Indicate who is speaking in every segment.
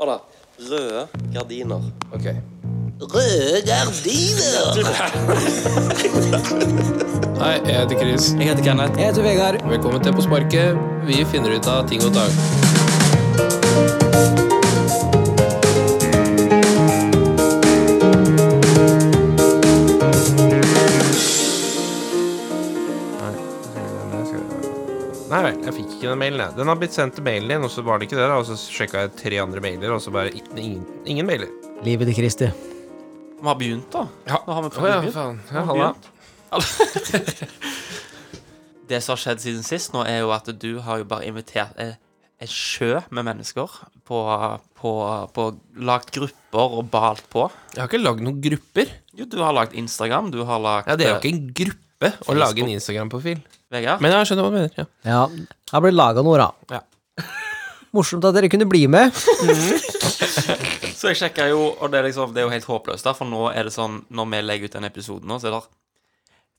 Speaker 1: Hør da. Røde gardiner.
Speaker 2: Ok.
Speaker 1: Røde gardiner!
Speaker 2: Hei, jeg heter Chris.
Speaker 1: Jeg heter Kenneth.
Speaker 3: Jeg heter Vegard.
Speaker 2: Velkommen til På sparket. Vi finner ut av ting og tang.
Speaker 4: Nei vel, jeg fikk ikke den mailen. jeg. Den har blitt sendt til mailen din, og så var det ikke det. da Og så sjekka jeg tre andre mailer, og så bare ikke- ingen, ingen mailer.
Speaker 3: Livet til Kristi.
Speaker 1: Vi har begynt, da.
Speaker 4: Ja.
Speaker 1: Nå har vi
Speaker 4: Å ja,
Speaker 1: begynt.
Speaker 4: faen. Ja, halla.
Speaker 1: Det som har skjedd siden sist, nå er jo at du har jo bare invitert eh, en sjø med mennesker på, på, på Lagt grupper og balt på.
Speaker 4: Jeg har ikke lagd noen grupper.
Speaker 1: Jo, du har lagd Instagram, du har lagd
Speaker 4: Ja, Det er jo
Speaker 1: eh,
Speaker 4: ikke en gruppe å lage en Instagram-profil.
Speaker 1: Vegard.
Speaker 4: Men jeg skjønner hva du mener. ja
Speaker 3: Ja, her ble det laga noe, da.
Speaker 4: Ja.
Speaker 3: Morsomt at dere kunne bli med.
Speaker 1: Så jeg sjekka jo, og det er, liksom, det er jo helt håpløst, da, for nå er det sånn Når vi legger ut den episoden nå, så er det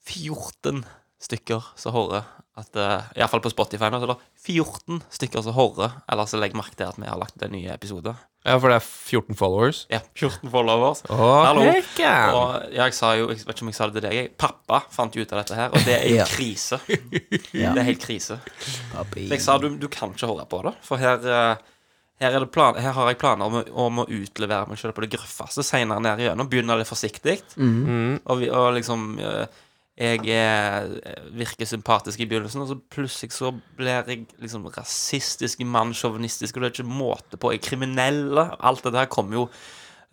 Speaker 1: 14 stykker som hører at uh, Iallfall på Spotify nå, så er det 14 stykker som hører, eller så legger merke til at vi har lagt ut en ny episode.
Speaker 4: Ja, for det er 14 followers.
Speaker 1: Ja, 14 followers.
Speaker 4: Å,
Speaker 1: Hallo.
Speaker 4: hekken.
Speaker 1: Og ja, jeg sa jo, jeg vet ikke om jeg sa det til deg, jeg, pappa fant jo ut av dette her, og det er
Speaker 3: Ja.
Speaker 1: jo krise. Det er helt krise.
Speaker 3: Papi.
Speaker 1: Så jeg sa du, du kan ikke høre på det, for her, eh, her, er det plan, her har jeg planer om, å- om å utlevere meg selv på det grøffeste senere ned igjennom. Begynner det forsiktig,
Speaker 4: Mm.
Speaker 1: og, vi, og liksom eh, Jeg er, eh, virker sympatisk i begynnelsen, og så plutselig så blir jeg liksom rasistisk, mannssjåvinistisk, og det er ikke måte på. Jeg er kriminelle. Alt det der kommer jo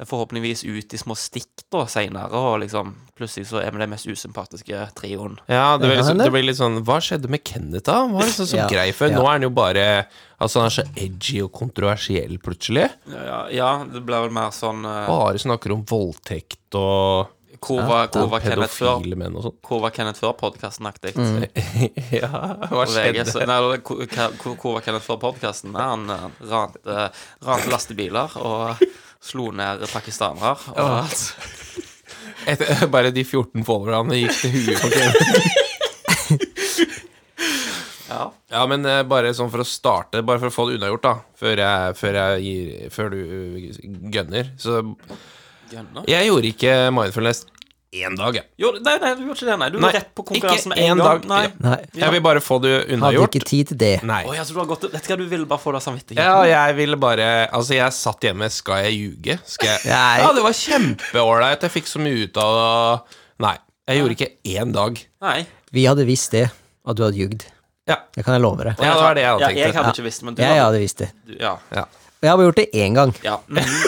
Speaker 1: forhåpentligvis ut i små stikk da seinere, og liksom plutselig så er vi den mest usympatiske trioen.
Speaker 4: Ja, det
Speaker 3: Det
Speaker 4: blir,
Speaker 3: kan
Speaker 4: liksom,
Speaker 3: hende.
Speaker 4: det blir litt sånn Hva skjedde med Kenneth, da? Han var liksom så
Speaker 3: Ja,
Speaker 4: grei før.
Speaker 3: ja.
Speaker 4: Nå er han jo bare Altså, han er så edgy og kontroversiell plutselig.
Speaker 1: Ja, ja, ja det blir vel mer sånn eh,
Speaker 4: Bare snakker om voldtekt og
Speaker 1: Hvor var, hvor var Kenneth før?
Speaker 4: pedofile menn og sånn.
Speaker 1: Hvor var Kenneth før podkasten-aktig?
Speaker 4: Mm. ja, hva
Speaker 1: Og VG så- nei, eller, hvor- hva- hvor hvor var Kenneth før podkasten? Han eh, rante, rante lastebiler og slo ned pakistanere. Og alt.
Speaker 4: Et, bare de 14 followerne gikk til huet på Kenneth.
Speaker 1: Ja.
Speaker 4: Ja, men eh, bare sånn for å starte, bare for å få det unnagjort, da, før, jeg, før, jeg gir, før du eh, gønner Så
Speaker 1: Gønner.
Speaker 4: jeg gjorde ikke mindfulness én dag, jeg.
Speaker 1: Jo, nei, nei, du gjorde ikke det. nei Du
Speaker 4: Nei,
Speaker 1: var rett på konkurransen
Speaker 4: ikke
Speaker 1: med en
Speaker 4: en
Speaker 1: gang.
Speaker 4: dag.
Speaker 1: Nei.
Speaker 3: Nei,
Speaker 4: Jeg vil bare få det
Speaker 3: hadde
Speaker 4: unnagjort.
Speaker 3: ikke tid til det.
Speaker 4: Nei.
Speaker 1: Å, ja, så du har gått Vet du hva, du ville bare få det av samvittigheten.
Speaker 4: Ja, jeg ville bare Altså, jeg satt hjemme. Skal jeg ljuge? Skal jeg
Speaker 3: Nei.
Speaker 4: Ja, det var kjempeålreit. Jeg fikk så mye ut av det. Nei. Jeg gjorde ikke én dag.
Speaker 1: Nei.
Speaker 3: Vi hadde visst det, at du hadde jugd.
Speaker 4: Ja.
Speaker 3: Det kan jeg love deg.
Speaker 4: Ja, det var det jeg
Speaker 1: Ja,
Speaker 4: hadde
Speaker 1: jeg
Speaker 4: tenkt.
Speaker 1: hadde ikke visst det, men du
Speaker 3: Jeg
Speaker 1: hadde
Speaker 3: hadde visst det.
Speaker 1: du- Ja.
Speaker 4: Ja.
Speaker 3: Og jeg har bare gjort det én gang.
Speaker 1: ja.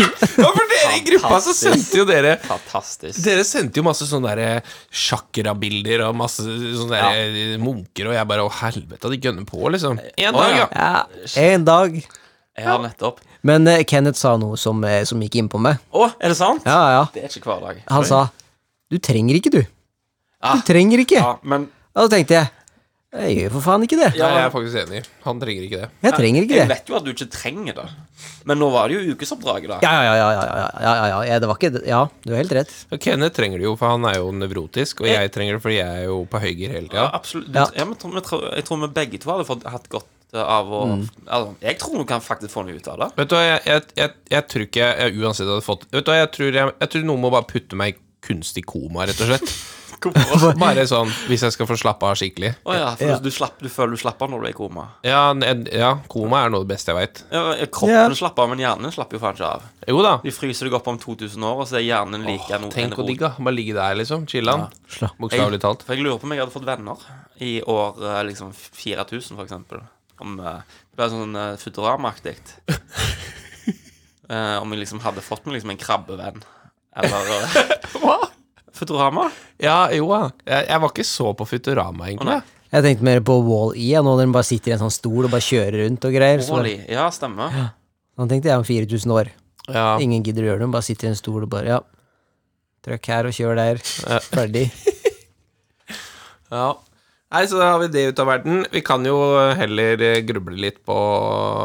Speaker 1: Mhm.
Speaker 4: Ja, for dere i gruppa så sendte jo dere
Speaker 1: Fantastisk.
Speaker 4: Dere sendte jo masse sånne der sjakrabilder og masse sånne der eh, munker, og jeg bare Å, helvete, de gønner på, liksom.
Speaker 1: Eh,
Speaker 4: Én dag, ja.
Speaker 3: Ja, En dag.
Speaker 1: Jeg har nettopp
Speaker 3: Men eh, Kenneth sa noe som, eh, som gikk innpå meg.
Speaker 1: Å, er det sant?
Speaker 3: Ja, ja.
Speaker 1: Det er ikke hver dag.
Speaker 3: Han sa 'Du trenger ikke, du'.
Speaker 1: Ah.
Speaker 3: Du trenger ikke.
Speaker 1: Ja, men
Speaker 3: Og da tenkte jeg Jeg gjør for faen ikke det.
Speaker 4: Nei, jeg
Speaker 1: ja,
Speaker 4: er faktisk enig. Han trenger ikke det.
Speaker 3: Jeg trenger ikke
Speaker 1: Jeg
Speaker 3: det.
Speaker 1: vet jo at du ikke trenger det. Men nå var det jo ukesoppdraget, da.
Speaker 3: Ja, ja, ja. ja, ja, ja, ja, ja, ja. Det var ikke Ja, du har helt rett.
Speaker 4: Og Kenneth trenger det jo, for han er jo nevrotisk, og jeg trenger det fordi jeg er jo på høygir hele tida.
Speaker 1: absolutt.
Speaker 3: Ja.
Speaker 1: Ja, men, tror- men tror- jeg tror vi begge to hadde fått, hatt godt eh, av å altså, Jeg tror du kan faktisk få noe ut av det.
Speaker 4: Vet du hva, jeg, jeg, jeg, jeg tror ikke jeg, jeg uansett hadde fått Vet du hva, jeg tror, jeg, jeg tror noen må bare putte meg i kunstig koma, rett og slett. bare sånn, hvis jeg skal få slappe av skikkelig.
Speaker 1: Å ja, for
Speaker 3: Ja.
Speaker 1: Du, slapp, du føler du slapper når du er i koma.
Speaker 4: Ja, en- ja koma er noe av det beste jeg veit.
Speaker 1: Ja, kroppen
Speaker 3: Ja.
Speaker 1: slapper av, men hjernen slapper jo faen ikke av.
Speaker 4: Jo da.
Speaker 1: De fryser deg opp om 2000 år, og så er hjernen like oh,
Speaker 4: Tenk hvor digg, da. Bare ligge der, liksom. Chillan.
Speaker 3: Slapp.
Speaker 4: Bokstavelig talt.
Speaker 1: For jeg lurer på om jeg hadde fått venner i år eh, liksom 4000, for eksempel. Om eh, det ble sånn uh, Futurama-aktig. Eh, om jeg liksom hadde fått meg liksom en krabbevenn. Eller eh,
Speaker 4: Hva?
Speaker 1: Futurama.
Speaker 4: Ja, jo da. Jeg, jeg var ikke så på Futurama, egentlig.
Speaker 1: Å,
Speaker 3: Jeg tenkte mer på Wall-E, jeg, nå når den bare sitter i en sånn stol og bare kjører rundt og greier. Så
Speaker 1: Wall-E. Ja, stemmer.
Speaker 3: han tenkte jeg om 4000 år.
Speaker 4: ja.
Speaker 3: Ingen gidder å gjøre det, hun bare sitter i en stol og bare ja. Trykk her og kjør der. Ferdig.
Speaker 4: ja. Nei, så da har vi det ut av verden. Vi kan jo heller eh, gruble litt på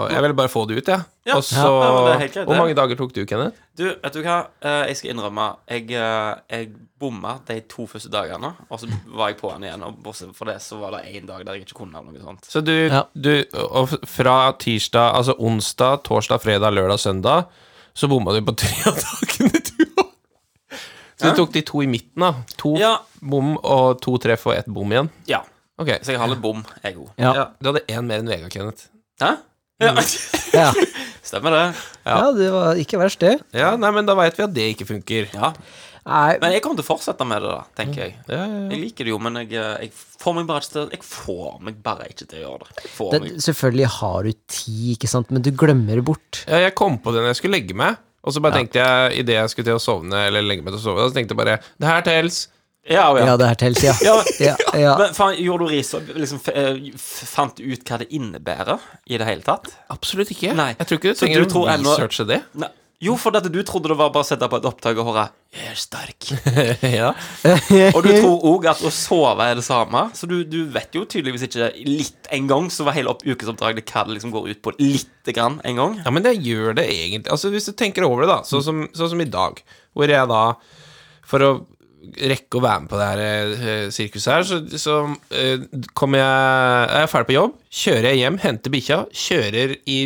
Speaker 4: Jeg vil bare få det ut, jeg.
Speaker 1: Ja,
Speaker 4: Og så
Speaker 1: ja, men det er helt greit,
Speaker 4: Hvor
Speaker 1: det.
Speaker 4: mange dager tok du, Kenneth?
Speaker 1: Du, vet du hva? Eh, Jeg skal innrømme Jeg, eh, jeg bomma de to første dagene. Og så var jeg på den igjen. Og bortsett fra det så var det én dag der jeg ikke kunne noe sånt.
Speaker 4: Så du,
Speaker 3: Ja.
Speaker 4: du Og fra tirsdag, altså onsdag, torsdag, fredag, lørdag, søndag, så bomma du på tre av dagene, du òg. Så du tok de to i midten, da. To
Speaker 1: Ja.
Speaker 4: bom og to treff og ett bom igjen.
Speaker 1: Ja.
Speaker 4: Ok.
Speaker 1: Så jeg har litt bom, jeg òg.
Speaker 3: Ja.
Speaker 4: Ja, du hadde én mer enn Vegard, Kenneth.
Speaker 1: Hæ? Ja.
Speaker 3: Ja.
Speaker 1: Stemmer det.
Speaker 3: ja, det var ikke verst, det.
Speaker 4: Ja, nei, men da veit vi at det ikke funker.
Speaker 1: Ja.
Speaker 3: Nei,
Speaker 1: Men jeg kommer til å fortsette med det, da, tenker jeg.
Speaker 4: Ja, ja, ja.
Speaker 1: Jeg liker det jo, men jeg, eh, jeg får meg bare ikke til Jeg får meg bare ikke til å gjøre det. Jeg får
Speaker 3: det,
Speaker 1: meg.
Speaker 3: selvfølgelig har du tid, ikke sant, men du glemmer det bort.
Speaker 4: Ja, jeg kom på det når jeg skulle legge meg. Og så bare tenkte jeg idet jeg skulle til å sovne, eller legge meg til å sove, så tenkte jeg bare Det her tels.
Speaker 1: Ja, ja.
Speaker 3: Ja, det her tels, ja.
Speaker 1: Ja,
Speaker 3: ja, ja.
Speaker 1: Men faen, gjorde du ris og liksom, f- eh, f- fant du ut hva det innebærer i det hele tatt?
Speaker 4: Absolutt ikke.
Speaker 1: Nei.
Speaker 4: Jeg tror ikke du
Speaker 1: Så
Speaker 4: trenger
Speaker 1: du
Speaker 4: å
Speaker 1: tror ennå-
Speaker 4: researche det.
Speaker 1: Nei. Jo, for dette du trodde det var bare å sette på et opptak og høre 'Jeg er sterk'.
Speaker 4: ja.
Speaker 1: Og du tror òg at å sove er det samme, så du, du vet jo tydeligvis ikke litt en gang, så var hele opp ukesoppdraget hva det liksom går ut på lite grann en gang.
Speaker 4: ja, men det gjør det egentlig. Altså, hvis du tenker over det, da, sånn som, sånn som i dag, hvor jeg da, for å rekke å være med på det her eh, sirkuset her, så, så eh, kommer jeg Er jeg ferdig på jobb, kjører jeg hjem, henter bikkja, kjører i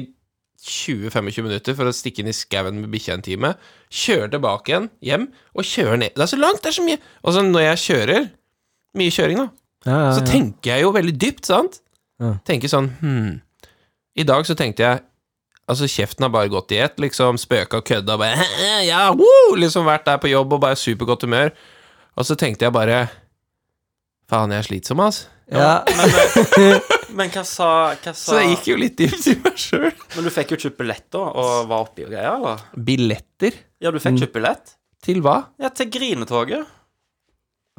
Speaker 4: 20-25 minutter for å stikke inn i skauen med bikkja en time, kjører tilbake igjen hjem, og kjører ned Det er så langt, det er så mye Og så når jeg kjører Mye kjøring, da.
Speaker 3: ja, ja,
Speaker 4: Så
Speaker 3: ja.
Speaker 4: tenker jeg jo veldig dypt, sant?
Speaker 3: Ja.
Speaker 4: Tenker sånn hmm. I dag så tenkte jeg Altså, kjeften har bare gått i ett, liksom. Spøka og kødda og bare «Hæ, hæ, Ja, woo! Liksom vært der på jobb og bare supergodt humør. Og så tenkte jeg bare Faen, jeg er slitsom, ass.
Speaker 3: ja.
Speaker 1: Men, eh, men hva sa, hva sa
Speaker 4: Så det gikk jo litt dypt i meg sjøl.
Speaker 1: Men du fikk jo kjøpt billett, da, og var oppi og greier, eller?
Speaker 4: Billetter?
Speaker 1: Ja, du fikk
Speaker 4: Mm.
Speaker 1: kjøpt billett?
Speaker 4: Til hva?
Speaker 1: Ja, til Grinetoget.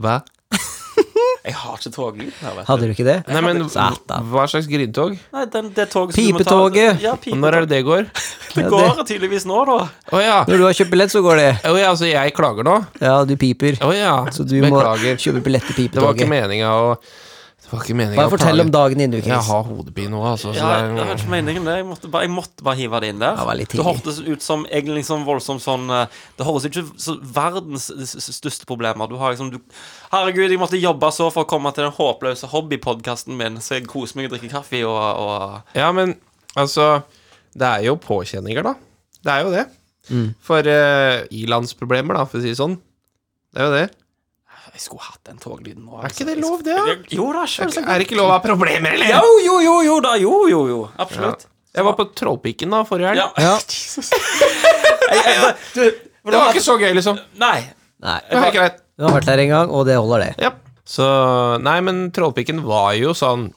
Speaker 4: Hva?
Speaker 1: Jeg har ikke toglyd her, vet du.
Speaker 3: Hadde du ikke det?
Speaker 4: Nei, men
Speaker 3: Satan.
Speaker 4: hva slags grintog?
Speaker 1: Nei, den, det toget som du må ta-
Speaker 3: Pipetoget.
Speaker 1: Ja,
Speaker 4: Og når
Speaker 1: pipetoget.
Speaker 4: er det det går?
Speaker 1: Det
Speaker 3: Ja,
Speaker 1: går
Speaker 3: det-
Speaker 1: tydeligvis nå, da.
Speaker 4: Å ja.
Speaker 3: Når du har kjøpt billett, så går det.
Speaker 4: Å ja, altså, jeg klager nå?
Speaker 3: Ja, du piper.
Speaker 4: Å ja.
Speaker 3: Så du
Speaker 4: Beklager.
Speaker 3: må kjøpe billett til
Speaker 4: Det var ikke
Speaker 3: pipetoget.
Speaker 4: meninga å Det var ikke meninga
Speaker 3: Bare fortell om dagen din, du,
Speaker 4: Jeg
Speaker 3: Chris.
Speaker 4: har hodepine nå, altså. Så
Speaker 1: Ja,
Speaker 4: det er,
Speaker 1: det var ikke meningen, det. Jeg måtte bare, jeg måtte bare hive det inn der.
Speaker 3: Det var litt
Speaker 1: det
Speaker 3: tidlig.
Speaker 1: hørtes ut som egentlig liksom voldsomt sånn eh, Det høres ut som så verdens s- s- største problemer. Du har liksom du, Herregud, jeg måtte jobbe så for å komme til den håpløse hobbypodkasten min, så jeg koser meg og drikker kaffe og, og
Speaker 4: Ja, men altså Det er jo påkjenninger, da. Det er jo det.
Speaker 3: Mm.
Speaker 4: For uh, ilandsproblemer, da, for å si det sånn. Det er jo det.
Speaker 1: Jeg skulle hatt den toglyden nå.
Speaker 4: Er
Speaker 1: altså.
Speaker 4: ikke det lov, det? da?
Speaker 1: Jo da, selvsagt.
Speaker 4: Er det ikke lov å ha problemer, eller?
Speaker 1: Jo, jo, jo, jo da. Jo, jo, jo. Absolutt.
Speaker 4: Jeg var på Trollpikken da forrige helg.
Speaker 1: Ja.
Speaker 3: Ja.
Speaker 1: Jesus. Jeg- jeg- du,
Speaker 4: Det var ikke så gøy, liksom.
Speaker 1: Nei.
Speaker 3: Nei.
Speaker 4: Det var helt greit.
Speaker 3: Du har vært der en gang, og det holder, det.
Speaker 4: Ja. Så Nei, men Trollpikken var jo sånn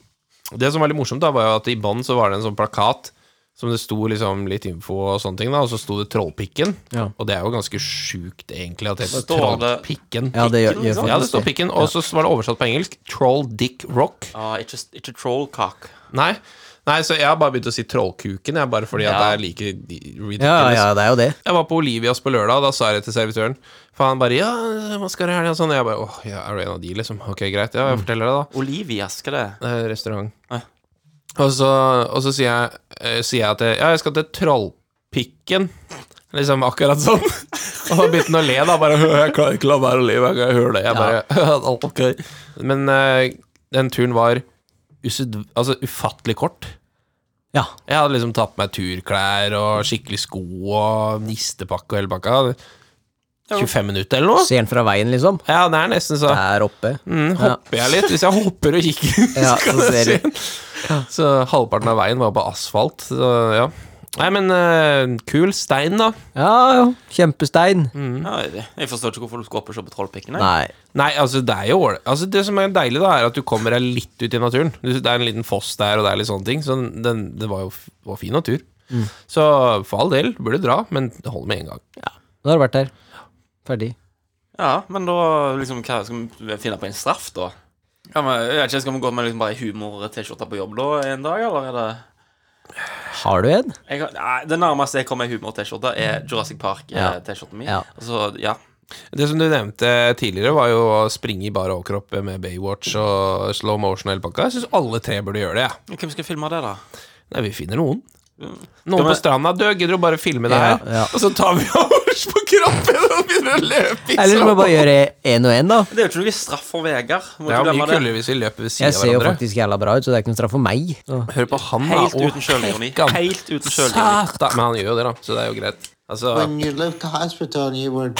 Speaker 4: Det som var litt morsomt, da, var jo at i bånn så var det en sånn plakat som det sto liksom litt info og sånne ting, da, og så sto det Trollpikken.
Speaker 3: Ja.
Speaker 4: Og det er jo ganske sjukt, egentlig, at det heter
Speaker 1: Står det-
Speaker 4: Trollpikken.
Speaker 3: Ja, det gjør, gjør
Speaker 1: liksom?
Speaker 4: Ja, det
Speaker 3: faktisk
Speaker 4: står pikken, og så var det oversatt på engelsk. Troll dick rock.
Speaker 1: Ah, ikke, ikke trollcock.
Speaker 4: Nei, Nei så jeg har bare begynt å si trollkuken, jeg, bare fordi at
Speaker 1: Ja.
Speaker 4: det er like di- ridiculous.
Speaker 3: Ja, ja, det er jo det.
Speaker 4: Jeg var på Olivias på lørdag, da sa jeg det til servitøren. Faen, bare Ja, hva skal du i helga? Sånn. Jeg bare Åh, ja, er du en av de, liksom? Ok, greit. Ja, jeg forteller deg, da.
Speaker 1: Olivia, skal det
Speaker 4: Det er eh, restaurant.
Speaker 1: Ah.
Speaker 4: Og så, og så sier, jeg, eh, sier jeg at jeg, ja, jeg skal til Trollpikken. Liksom akkurat sånn. Og da begynte han å le, da. Bare «Hø, Jeg klarer ikke la være å le hver gang jeg hører det. Jeg bare, ok. Men eh, den turen var usedd, altså, ufattelig kort.
Speaker 3: Ja.
Speaker 4: Jeg hadde liksom tatt på meg turklær og skikkelig sko og nistepakke og hele pakka. 25 minutter eller noe.
Speaker 3: Ser den fra veien, liksom.
Speaker 4: Ja, det er nesten så
Speaker 3: Der oppe.
Speaker 4: mm, Hopper jeg litt? Hvis jeg hopper og kikker,
Speaker 3: Ja,
Speaker 4: skal jeg
Speaker 3: så ser
Speaker 4: se
Speaker 3: du.
Speaker 4: så halvparten av veien var på asfalt. Så, ja. Nei, men eh, kul stein, da.
Speaker 3: Ja, jo. Kjempestein.
Speaker 4: Mm.
Speaker 1: Ja, jeg- jeg forstår ikke hvorfor du skal opp og se på Trollpikken. jeg.
Speaker 3: Nei.
Speaker 4: Nei, altså det er jo ål- altså, Det som er deilig, da, er at du kommer deg litt ut i naturen. Du- Det er en liten foss der, og det er litt sånne ting. Så den, det var jo f- var fin natur.
Speaker 3: Mm.
Speaker 4: Så for all del, du burde dra, men det holder med en gang.
Speaker 3: Nå har du vært der. Ferdig.
Speaker 1: Ja, men da liksom, hva, Skal vi finne på en straff, da? Ja, men, jeg vet ikke, Skal vi gå med liksom bare humor-T-skjorte på jobb da en dag, eller er det
Speaker 3: Har du en?
Speaker 1: Mm. jeg, har- nei, Det nærmeste jeg kommer humor-T-skjorte, er Jurassic Park-T-skjorten eh, min.
Speaker 3: Ja.
Speaker 1: Og så, ja
Speaker 4: Det som du nevnte tidligere, var jo å springe i bar overkropp med Baywatch og slow motion og hele pakka. Jeg syns alle tre burde gjøre det. jeg.
Speaker 1: Hvem skal filme det, da?
Speaker 4: Nei, vi finner noen.
Speaker 1: Ja,
Speaker 4: Noen
Speaker 1: men-
Speaker 4: på stranda dø, gidder du bare filme det
Speaker 3: Ja,
Speaker 4: her?
Speaker 3: ja.
Speaker 4: Og så tar vi overs på kroppen og begynner å løpe i
Speaker 3: Eller så må vi bare gjøre én og én, da.
Speaker 1: Det er jo ikke noe straff for Vegard. Må ikke
Speaker 4: Det er jo
Speaker 1: glemme
Speaker 4: mye
Speaker 1: det.
Speaker 4: kulere hvis vi løper ved siden
Speaker 3: Jeg
Speaker 4: av
Speaker 3: ser jo
Speaker 4: hverandre.
Speaker 3: faktisk jævla bra ut, så det er ikke noen straff for meg. Så.
Speaker 4: Hør på han, da.
Speaker 1: Helt
Speaker 4: Å,
Speaker 1: uten sjølironi.
Speaker 4: hekkan.
Speaker 1: Helt uten sjølironi.
Speaker 4: Satan. Men han gjør jo det, da, så det er jo greit. Altså,
Speaker 5: When you left the hospital, you were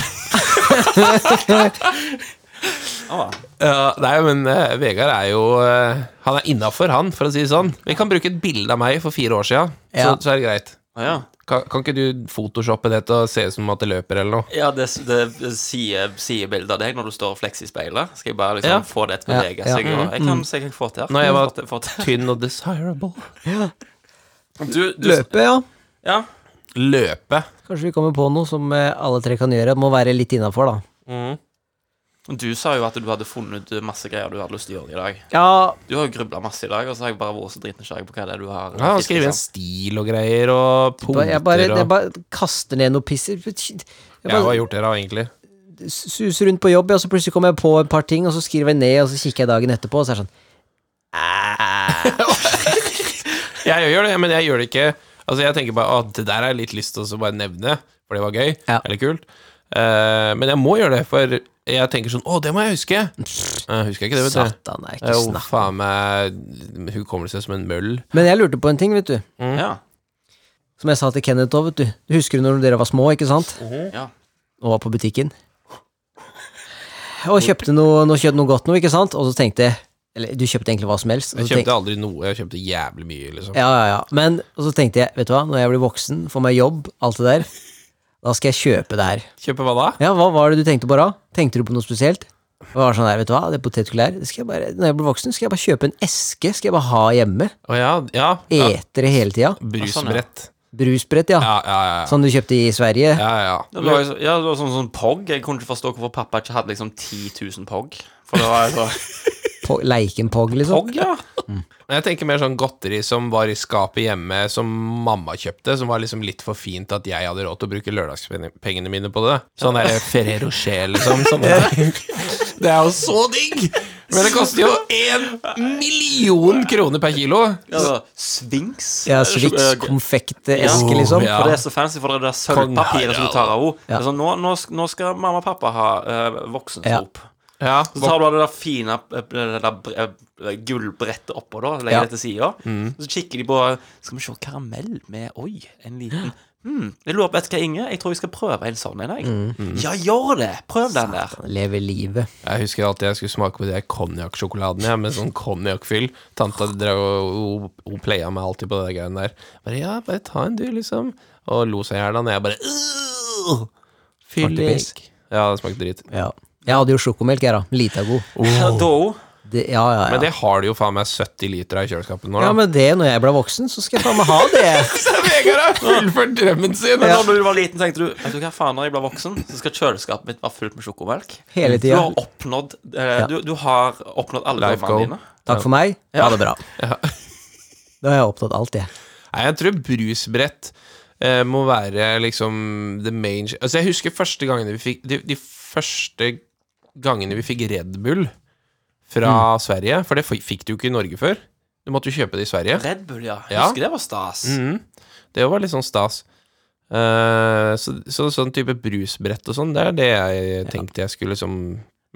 Speaker 1: Ah.
Speaker 4: ja, nei, men eh, Vegard er jo eh, Han er innafor, han, for å si det sånn. Vi kan bruke et bilde av meg for fire år sia,
Speaker 3: Ja.
Speaker 4: så, så er det greit.
Speaker 1: Ah, ja.
Speaker 4: Kan, kan ikke du photoshoppe det til å se ut som at det løper, eller noe?
Speaker 1: ja, det, det sier, sier bildet av deg når du står og flekser i speilet. Skal jeg bare liksom
Speaker 4: Ja.
Speaker 1: få det til å
Speaker 3: Ja,
Speaker 1: bevege
Speaker 3: ja.
Speaker 1: seg? og- Jeg kan se hva jeg får til. her.
Speaker 4: Når jeg var-
Speaker 1: Får til- får til.
Speaker 4: Tynn og desirable.
Speaker 1: Du, du,
Speaker 3: Løpe, ja.
Speaker 1: ja.
Speaker 4: Løpe.
Speaker 3: Kanskje vi kommer på noe som eh, alle tre kan gjøre. Det må være litt innafor, da.
Speaker 1: du sa jo at du hadde funnet ut masse greier du hadde lyst til å gjøre i dag.
Speaker 3: Ja,
Speaker 1: Du har jo grubla masse i dag, og så har jeg bare vært så dritnysgjerrig på hva det er du har
Speaker 4: Ja, han
Speaker 1: fisket
Speaker 4: skriver en
Speaker 1: sammen.
Speaker 4: stil og greier, og punkter
Speaker 3: jeg bare, jeg
Speaker 4: og
Speaker 3: bare kaster ned noe piss. Jeg
Speaker 4: Jeg har
Speaker 3: bare
Speaker 4: gjort det, da, egentlig.
Speaker 3: suser rundt på jobb, ja, og så plutselig kommer jeg på et par ting, og så skriver jeg ned, og så kikker jeg dagen etterpå, og så er det sånn
Speaker 4: Jeg gjør det, men jeg gjør det ikke Altså jeg tenker bare at det der har jeg litt lyst til å så bare nevne, for det var gøy,
Speaker 3: Ja.
Speaker 4: eller kult. Eh, men jeg må gjøre det, for jeg tenker sånn Å, det må jeg huske! Jeg husker ikke det, vet du.
Speaker 3: Satan, det er ikke
Speaker 4: Jo,
Speaker 3: snakk.
Speaker 4: faen meg Hukommelse som en møll.
Speaker 3: Men jeg lurte på en ting, vet du.
Speaker 1: Ja.
Speaker 3: Som jeg sa til Kenneth òg, vet du. Du husker du når dere var små, ikke sant?
Speaker 1: ja.
Speaker 3: Og var på butikken. Og kjøpte noe, noe, kjøpte noe godt noe, ikke sant? Og så tenkte jeg Eller du kjøpte egentlig hva som helst. og
Speaker 4: Jeg
Speaker 3: så tenkte-
Speaker 4: kjøpte aldri noe. Jeg kjøpte jævlig mye, liksom.
Speaker 3: Ja, ja, ja. Men og så tenkte jeg, vet du hva, når jeg blir voksen, får meg jobb, alt det der, da skal jeg kjøpe det her.
Speaker 4: Kjøpe hva da?
Speaker 3: Ja, hva var det du tenkte på da? Tenkte du på noe spesielt? Det var sånn der, vet du hva, det potetgullet her, det skal jeg bare, når jeg blir voksen, skal jeg bare kjøpe en eske, skal jeg bare ha hjemme.
Speaker 4: Å ja, ja. ja.
Speaker 3: Eter det hele tida.
Speaker 4: Brusbrett.
Speaker 3: Brusbrett, ja.
Speaker 4: E. Ah, sånn, Ja, ja, ja.
Speaker 3: Som du kjøpte i Sverige.
Speaker 4: ja, ja.
Speaker 1: Det var, jo så- ja, det var sånn, sånn POG. Jeg kunne ikke forstå hvorfor pappa ikke hadde liksom 10 000 POG. For det var altså
Speaker 3: Po Leikenpog, liksom.
Speaker 1: POG, ja.
Speaker 4: Men jeg tenker mer sånn godteri som var i skapet hjemme, som mamma kjøpte, som var liksom litt for fint at jeg hadde råd til å bruke lørdagspengene mine på det. Sånn der Ferrero Rocher, liksom. Sånn der. det er jo så digg! Men det koster jo én million kroner per kilo.
Speaker 1: Altså, Sphinx.
Speaker 3: Ja,
Speaker 1: eh,
Speaker 3: Swix
Speaker 1: eh,
Speaker 3: konfekteske,
Speaker 1: Ja.
Speaker 3: liksom.
Speaker 4: Ja.
Speaker 1: For det er så fancy, for det er det sølvpapiret som du tar av henne.
Speaker 3: Ja.
Speaker 1: Altså, nå, nå, sk- nå skal mamma og pappa ha uh, voksensop.
Speaker 4: Ja,
Speaker 1: Så tar du av det der fine eh, det der bre- eh, gullbrettet oppå, da, legger
Speaker 3: Ja.
Speaker 1: det til sida. Så kikker de på Skal vi se karamell med Oi, en liten hmm. Jeg lurer på, vet du hva, Inge? Jeg tror jeg skal prøve en sånn en, jeg. Ja, gjør det! Prøv den der.
Speaker 3: Leve livet.
Speaker 4: Jeg husker alltid jeg skulle smake på de der konjakksjokoladene ja, med sånn konjakkfyll. Tanta drev og hun- hun playa meg alltid på det der greiene der. Bare ja, bare ta en du, liksom. Og lo seg i hjel, og jeg bare «Åh,
Speaker 3: Smakte
Speaker 4: Fyllik.
Speaker 3: pisk.
Speaker 4: Ja, det smakte dritt.
Speaker 3: Ja. Jeg hadde jo sjokomelk, jeg, da. Lita god.
Speaker 1: Ja, Da
Speaker 3: Det, ja, ja,
Speaker 4: Oh. Men
Speaker 3: ja.
Speaker 4: det har du jo faen meg 70 liter av i kjøleskapet nå.
Speaker 3: Ja,
Speaker 4: Da.
Speaker 3: men det, når jeg ble voksen, så skal jeg faen meg ha det.
Speaker 4: Vegard har fullført drømmen sin!
Speaker 1: Men da du var liten, tenkte du Vet du hva faen, når jeg blir voksen, så skal kjøleskapet mitt være fullt med sjokomelk.
Speaker 3: Hele
Speaker 1: Du
Speaker 3: tida.
Speaker 1: har oppnådd eh, du, du har oppnådd alle
Speaker 4: Life goal.
Speaker 1: drømmene dine.
Speaker 3: Takk for meg. Ha det bra. Da har jeg opptatt alt, jeg.
Speaker 4: Nei, jeg tror brusbrett eh, må være liksom the main Altså, jeg husker første gangene vi fikk De, de første gangene vi fikk Red Bull fra Sverige, for det f- fikk du jo ikke i Norge før. Du måtte jo kjøpe det i Sverige.
Speaker 1: Red Bull, ja.
Speaker 4: Ja.
Speaker 1: Husker det var stas.
Speaker 4: Mhm. Det var litt sånn stas. Eh, så, så sånn type brusbrett og sånn, det er det jeg tenkte jeg skulle liksom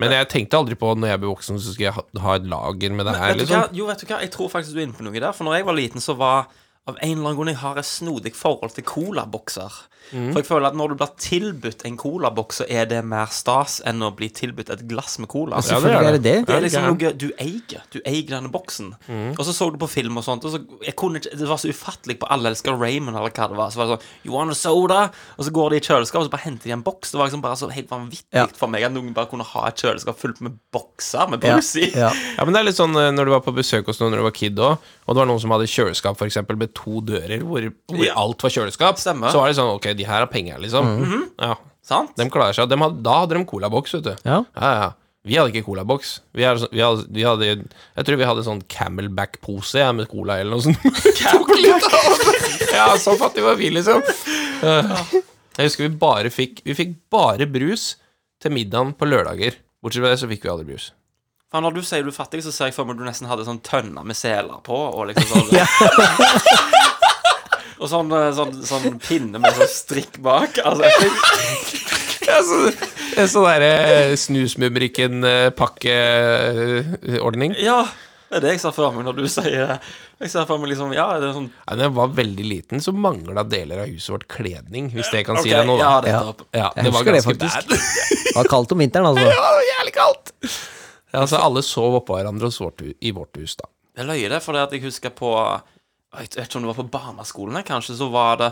Speaker 4: Men jeg tenkte aldri på når jeg blir voksen, så skal jeg ha, ha et lager med det her,
Speaker 1: Vet du hva?
Speaker 3: sånn?
Speaker 4: liksom.
Speaker 1: Jo, vet du hva, jeg tror faktisk du er inne på noe der. For når jeg var liten, så var av en eller annen grunn jeg har et snodig forhold til colabokser.
Speaker 3: Mm.
Speaker 1: For jeg føler at når du blir tilbudt en colaboks, så er det mer stas enn å bli tilbudt et glass med cola.
Speaker 4: Ja,
Speaker 3: Selvfølgelig er Mm. det Altså, det.
Speaker 1: Det er
Speaker 4: det er
Speaker 1: liksom noe du eier. Du eier denne boksen. Og så så du på film og sånt, og så jeg kunne ikke, det var så ufattelig på Alle elsker Raymond, eller hva det var. Så var det sånn You want a soda? Og så går de i kjøleskapet, og så bare henter de en boks. Det var liksom bare så helt vanvittig
Speaker 3: Ja.
Speaker 1: for meg at noen bare kunne ha et kjøleskap fullt med bokser med brus i.
Speaker 3: Ja.
Speaker 4: Ja, men det er litt sånn eh, når du var på besøk hos noen når du var kid òg, og det var noen som hadde kjøleskap for eksempel, med to dører hvor, hvor
Speaker 1: Ja.
Speaker 4: alt var kjøleskap,
Speaker 1: Stemmer. Mhm.
Speaker 4: så var det sånn Ok, de her har penger, liksom. Ja,
Speaker 1: Sant?
Speaker 4: De klarer seg. Dem hadde, da hadde de colaboks, vet du.
Speaker 3: Ja.
Speaker 4: ja, ja. Vi hadde ikke colaboks. Vi, hadde sånn- vi, hadde- vi hadde Jeg tror vi hadde sånn Camelback-pose ja, med cola eller noe sånt. Tok litt av det. ja, så fattig var vi, liksom. Eh, Jeg husker vi bare fikk Vi fikk bare brus til middagen på lørdager. Bortsett fra det, så fikk vi aldri brus.
Speaker 1: Faen, når du sier du er fattig, så ser jeg for meg at du nesten hadde sånn tønner med seler på, og liksom sånn Og sånn, eh, sånn, sånn pinne med sånn strikk bak. Altså, jeg tenker,
Speaker 4: Altså, en sånn derre eh, snusmumrikken-pakkeordning.
Speaker 1: ja, det er det jeg ser for meg når du sier det. Jeg ser for meg liksom Ja, det er sånn
Speaker 4: Ja, da jeg var veldig liten, så mangla deler av huset vårt kledning, hvis det kan si
Speaker 1: ok,
Speaker 4: deg noe.
Speaker 1: Ja,
Speaker 4: da.
Speaker 1: det
Speaker 3: Ja.
Speaker 1: er topp.
Speaker 4: Ja,
Speaker 3: Jeg
Speaker 4: det var
Speaker 3: husker det,
Speaker 4: ganske
Speaker 3: faktisk.
Speaker 4: bad.
Speaker 3: Det var kaldt om vinteren, altså.
Speaker 4: Ja, det var jævlig kaldt! Ja, altså, alle sov oppå hverandre hos vårt, hu- i vårt hus, da.
Speaker 1: Jeg løy det, for det at jeg husker på jeg vet ikke om det var på barneskolen, jeg, kanskje, så var det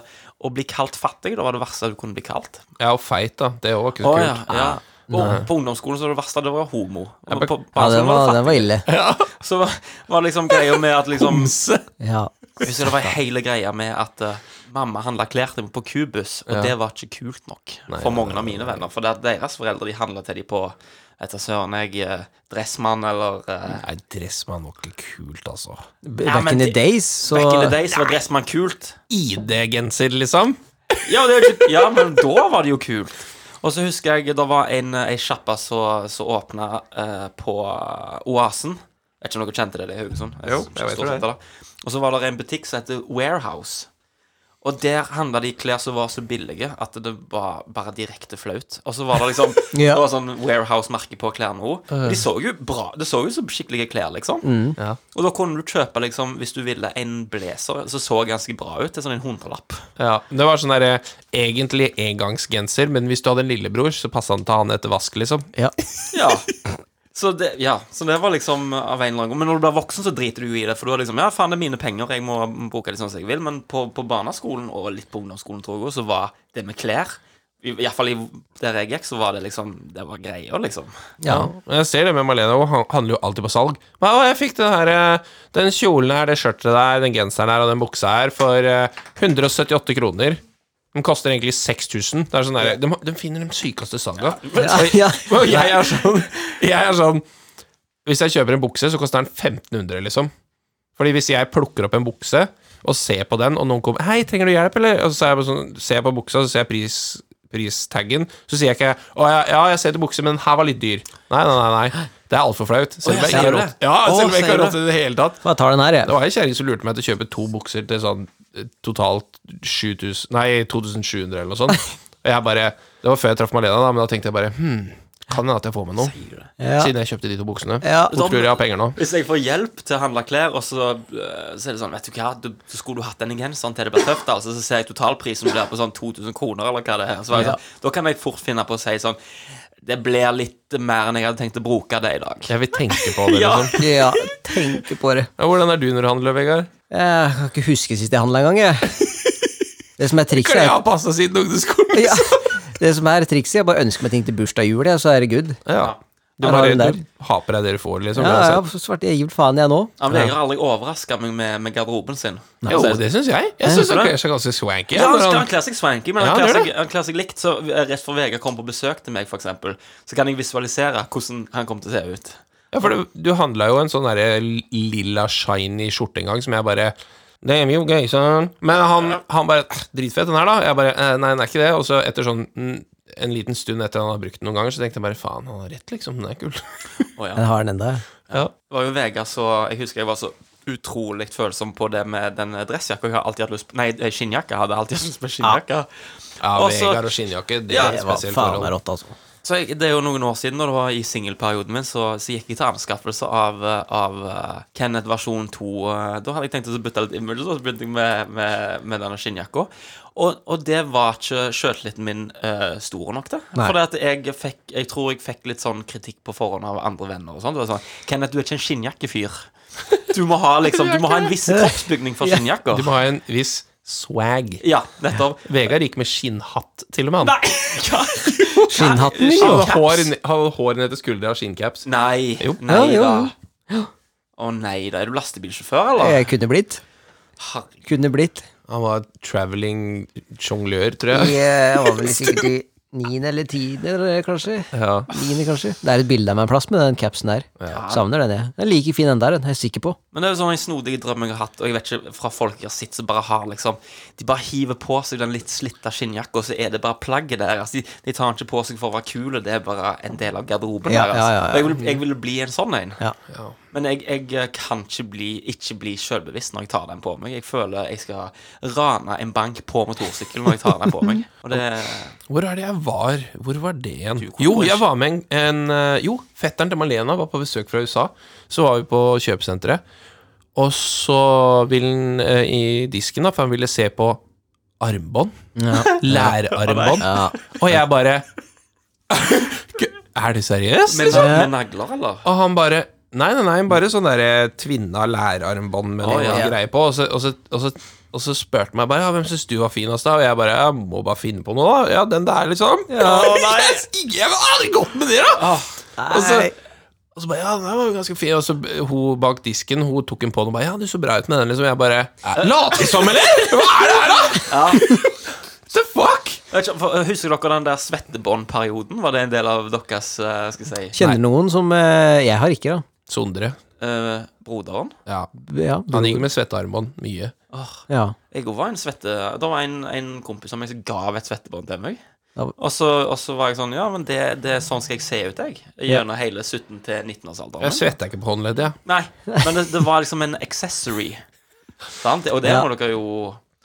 Speaker 1: å bli kalt fattig. Da var det verste du kunne bli kalt.
Speaker 4: Ja, og feit, da. Det var ikke så
Speaker 1: Å, ja,
Speaker 4: kult.
Speaker 1: ja. Og på ungdomsskolen så var det verste det var homo. Og på
Speaker 3: Ja,
Speaker 1: barneskolen
Speaker 3: den var,
Speaker 1: var det
Speaker 3: den var ille.
Speaker 1: fattig. Så var, var liksom greia med at liksom
Speaker 3: Ja.
Speaker 1: Jeg husker det var hele greia med at eh, mamma handla klær til meg på Cubus, og det var ikke kult nok for mange av mine venner. For det at deres foreldre de handla til dem på etter søren jeg eh, Dressmann eller eh,
Speaker 4: Nei, dressmann var ikke kult, altså.
Speaker 3: B-
Speaker 1: Ja,
Speaker 3: Back
Speaker 1: men
Speaker 3: in the
Speaker 1: det-
Speaker 3: days, så
Speaker 1: Back in the days var Dressmann kult.
Speaker 4: ID-genser, liksom.
Speaker 1: Ja, det er jo ikke, ja, men da var det jo kult. Og så husker jeg det var en, eh, ei sjappa som som åpna eh, på Oasen. Jeg vet ikke om dere kjente det, det er Haugesund.
Speaker 4: Jo, jeg vet
Speaker 1: stort
Speaker 4: det.
Speaker 1: sett det. Og så var det en butikk som heter Warehouse. Og der handla de klær som var så billige at det var bare direkte flaut. Og så var det liksom
Speaker 3: Ja.
Speaker 1: Det var sånn Warehouse-merke på klærne òg. De så jo bra Det så jo som skikkelige klær, liksom.
Speaker 4: Ja.
Speaker 1: Og da kunne du kjøpe, liksom, hvis du ville, en blazer som så ganske bra ut, til sånn en hundrelapp.
Speaker 4: Ja, Det var sånn derre egentlig engangsgenser, men hvis du hadde en lillebror, så passa han til han etter vask, liksom.
Speaker 3: ja.
Speaker 1: Ja. Så det, ja, så det var liksom av en eller annen grunn. Men når du blir voksen, så driter du jo i det. For du er liksom Ja, faen, det er mine penger, jeg må bruke det sånn som jeg vil. Men på, på barneskolen og litt på ungdomsskolen, tror jeg også, så var det med klær Iallfall der jeg gikk, så var det liksom Det var greia, liksom.
Speaker 3: ja.
Speaker 4: Men Jeg ser det med Malene, hun han- handler jo alltid på salg. Men, å, jeg fikk den her eh, Den kjolen her, det skjørtet der, den genseren her og den buksa her for eh, 178 kroner. Den koster egentlig 6000. Det er sånn der, de, de finner de sykeste salga. Og-
Speaker 3: ja.
Speaker 4: Og jeg er sånn Jeg er sånn Hvis jeg kjøper en bukse, så koster den 1500, liksom. Fordi hvis jeg plukker opp en bukse og ser på den, og noen kommer 'Hei, trenger du hjelp', eller? Og så er jeg bare sånn, ser jeg på buksa, så ser jeg pris, pristaggen, så sier jeg ikke 'Å ja, ja, jeg ser etter bukse, men den her var litt dyr'. Nei, nei, nei. nei. Det er altfor flaut. Selv
Speaker 1: Å,
Speaker 4: om jeg
Speaker 1: ja,
Speaker 4: ikke har
Speaker 1: sier du
Speaker 4: råd
Speaker 1: det?
Speaker 4: ja,
Speaker 1: Å,
Speaker 4: selv om jeg ikke
Speaker 1: sier
Speaker 4: har
Speaker 1: du
Speaker 4: råd til det i det hele tatt.
Speaker 3: Bare tar den her,
Speaker 4: Det
Speaker 3: jeg.
Speaker 4: var ei kjerring som lurte meg til å kjøpe to bukser til sånn eh, totalt 7000 Nei, 2700 eller noe sånt. Og jeg bare Det var før jeg traff Malena, da, men da tenkte jeg bare Hm, kan hende at jeg får med noe.
Speaker 3: Ja.
Speaker 4: Siden jeg kjøpte de to buksene.
Speaker 3: Ja.
Speaker 4: Hvor tror jeg jeg har penger nå?
Speaker 1: Hvis jeg får hjelp til å handle klær, og så, øh, så er det sånn Vet du hva, du, så skulle du hatt denne genseren til det ble tøft, altså, så ser jeg totalprisen blir på sånn 2000 kroner, eller hva det er. Så var jeg sånn, Da kan jeg fort finne på å si sånn Det blir litt mer enn jeg hadde tenkt å bruke det i dag.
Speaker 4: Jeg vil tenke på det.
Speaker 1: Ja.
Speaker 4: liksom.
Speaker 3: Ja, tenke på det.
Speaker 4: ja, Hvordan er du når du handler, Vegard?
Speaker 3: Jeg kan ikke huske sist jeg handla engang, jeg. Det som er trikset,
Speaker 4: Kan jeg
Speaker 3: er
Speaker 4: ha passa siden ungdomsskolen?
Speaker 3: ja. Det som er trikset, jeg bare ønsker meg ting til bursdag og jul, jeg, så er det good.
Speaker 4: Ja. Du
Speaker 3: Jeg har
Speaker 4: bare
Speaker 3: den der.
Speaker 4: du har på deg det du får, liksom.
Speaker 3: Ja,
Speaker 4: uansett.
Speaker 3: ja, så svarte jeg gir faen jeg nå.
Speaker 1: Han blir aldri overraska med, med, med garderoben sin.
Speaker 4: Jo, Altså, det syns jeg. Jeg syns han
Speaker 1: det?
Speaker 4: kler seg ganske swanky.
Speaker 1: Ja, altså, han, skal,
Speaker 4: når han-
Speaker 1: han kler seg swanky, men han,
Speaker 4: Ja, han
Speaker 1: kler
Speaker 4: gjør
Speaker 1: seg, han kler seg likt. Så eh, Rett før Vegard kommer på besøk til meg, for eksempel så kan jeg visualisere hvordan han kommer til å se ut.
Speaker 4: Ja, for du, du handla jo en sånn derre lilla shiny skjorte en gang, som jeg bare det er jo gøy, sånn. Men han, han bare «Eh, Dritfett, den her, da. Jeg bare «Eh, Nei, den er ikke det. Og så etter sånn mm, en liten stund etter han har brukt den noen ganger, så tenkte jeg bare faen, han har rett, liksom. Den er kul.
Speaker 1: Å, ja.
Speaker 3: Jeg har den enda.
Speaker 4: Ja.
Speaker 1: Det var jo Vegard så Jeg husker jeg var så utrolig følsom på det med den dressjakka. Jeg har alltid hatt lyst på Nei, eh, skinnjakka. Jeg hadde alltid hatt lyst på skinnjakka.
Speaker 4: Ja,
Speaker 1: Og så-
Speaker 4: Vegard og skinnjakke, det
Speaker 1: Ja,
Speaker 4: er et
Speaker 3: Det var
Speaker 4: spesielt
Speaker 3: faen meg
Speaker 4: forhold.
Speaker 3: rått, altså.
Speaker 1: Så jeg, det er jo noen år siden, når det var i singelperioden min, så, så gikk jeg til anskaffelse av, eh, av eh, Kenneth versjon 2. eh, Da hadde jeg tenkt å bytte litt image, og så begynte jeg med, med, med denne skinnjakka. Og, og det var ikke sjøltilliten min eh, stor nok til.
Speaker 3: Nei.
Speaker 1: For at jeg, fikk, jeg tror jeg fikk litt sånn kritikk på forhånd av andre venner. og sånt. Det var sånn, 'Kenneth, du er ikke en skinnjakkefyr'. Du må ha, liksom, du må ha en viss kroppsbygning for skinnjakka.
Speaker 4: Du må ha en viss swag.
Speaker 1: Ja, nettopp.
Speaker 4: Vegard gikk med skinnhatt, til og med. han.
Speaker 1: Ja.
Speaker 3: Skinnhatten,
Speaker 4: Han
Speaker 3: jo.
Speaker 4: hadde hår, ned- han hadde hår ned til skuldra og skinncaps.
Speaker 1: Nei.
Speaker 4: Jo.
Speaker 1: Nei
Speaker 3: Ja, jo,
Speaker 1: da.
Speaker 3: jo.
Speaker 1: Å nei da. Er du lastebilsjåfør, eller?
Speaker 3: Jeg Eh, kunne blitt.
Speaker 1: Herregud.
Speaker 3: Kunne blitt. Mm.
Speaker 4: Han var traveling sjonglør, tror jeg.
Speaker 3: Jeg eh, var vel sikkert i Niende eller tiende, eller kanskje.
Speaker 4: Ja.
Speaker 3: Niende, kanskje. Det er et bilde av meg en plass med den capsen der. Savner den, jeg. Den er like fin den der, den er jeg sikker på.
Speaker 1: Men det er jo sånn en snodig drøm jeg har hatt, og jeg vet ikke fra folk jeg har sett som bare har liksom De bare hiver på seg den litt slitte skinnjakka, og så er det bare plagget deres. De, de tar den ikke på seg for å være kule, det er bare en del av garderoben
Speaker 3: Ja,
Speaker 1: deres.
Speaker 3: ja, ja, ja.
Speaker 1: Og jeg ville jeg ville bli en sånn en.
Speaker 3: Ja.
Speaker 1: Men jeg, jeg kan ikke bli, ikke bli selvbevisst når jeg tar den på meg. Jeg føler jeg skal rane en bank på motorsykkel når jeg tar den på meg. Og det
Speaker 4: Hvor er det jeg var? Hvor var det igjen? Jo, jeg var med en, en eh, Jo, fetteren til Malena var på besøk fra USA. Så var vi på kjøpesenteret. Og så ville han eh, i disken, da, for han ville se på armbånd. Lærarmbånd. Og jeg bare Er du seriøs?
Speaker 1: Med,
Speaker 4: Liksom?
Speaker 1: med nagler, eller?
Speaker 4: Og han bare Nei, nei, nei, bare sånn derre tvinna lærarmbånd med noe
Speaker 1: ja.
Speaker 4: greier på. Og så, og så, og så, og så spurte han meg bare ja, hvem syns du var finest, da? Og jeg bare jeg må bare finne på noe, da. Ja, den der, liksom. Ja, nei. Jeg, jeg var aldri godt med det, da! og, så, og så bare ja, den der var jo ganske fin. Og så eh, hun bak disken hun tok en på den og bare ja, du så bra ut med den, liksom. Jeg bare "Æ, Later vi som, eller? Hva er det her, da? The fuck?
Speaker 1: Jeg vet ikke, for, eh, Husker dere den der svettebåndperioden? Var det en del av deres eh, skal jeg si,
Speaker 3: Kjenner noen som eh, jeg har ikke, da.
Speaker 4: Sondre.
Speaker 1: eh, broderen?
Speaker 4: Ja.
Speaker 3: Ja.
Speaker 4: Han gikk med svettearmbånd mye.
Speaker 3: ja.
Speaker 1: Jeg også var en svette Det var en, en kompis som jeg som gav et svettebånd til meg.
Speaker 3: Ja.
Speaker 1: Og så, og så var jeg sånn Ja, men det, det er sånn skal jeg se ut, jeg. Gjennom hele 17- til 19-årsalderen.
Speaker 4: Jeg svetta ikke på håndleddet, jeg.
Speaker 1: Nei, men det, det var liksom en accessory. Sant? Og det
Speaker 3: Ja.
Speaker 1: må dere jo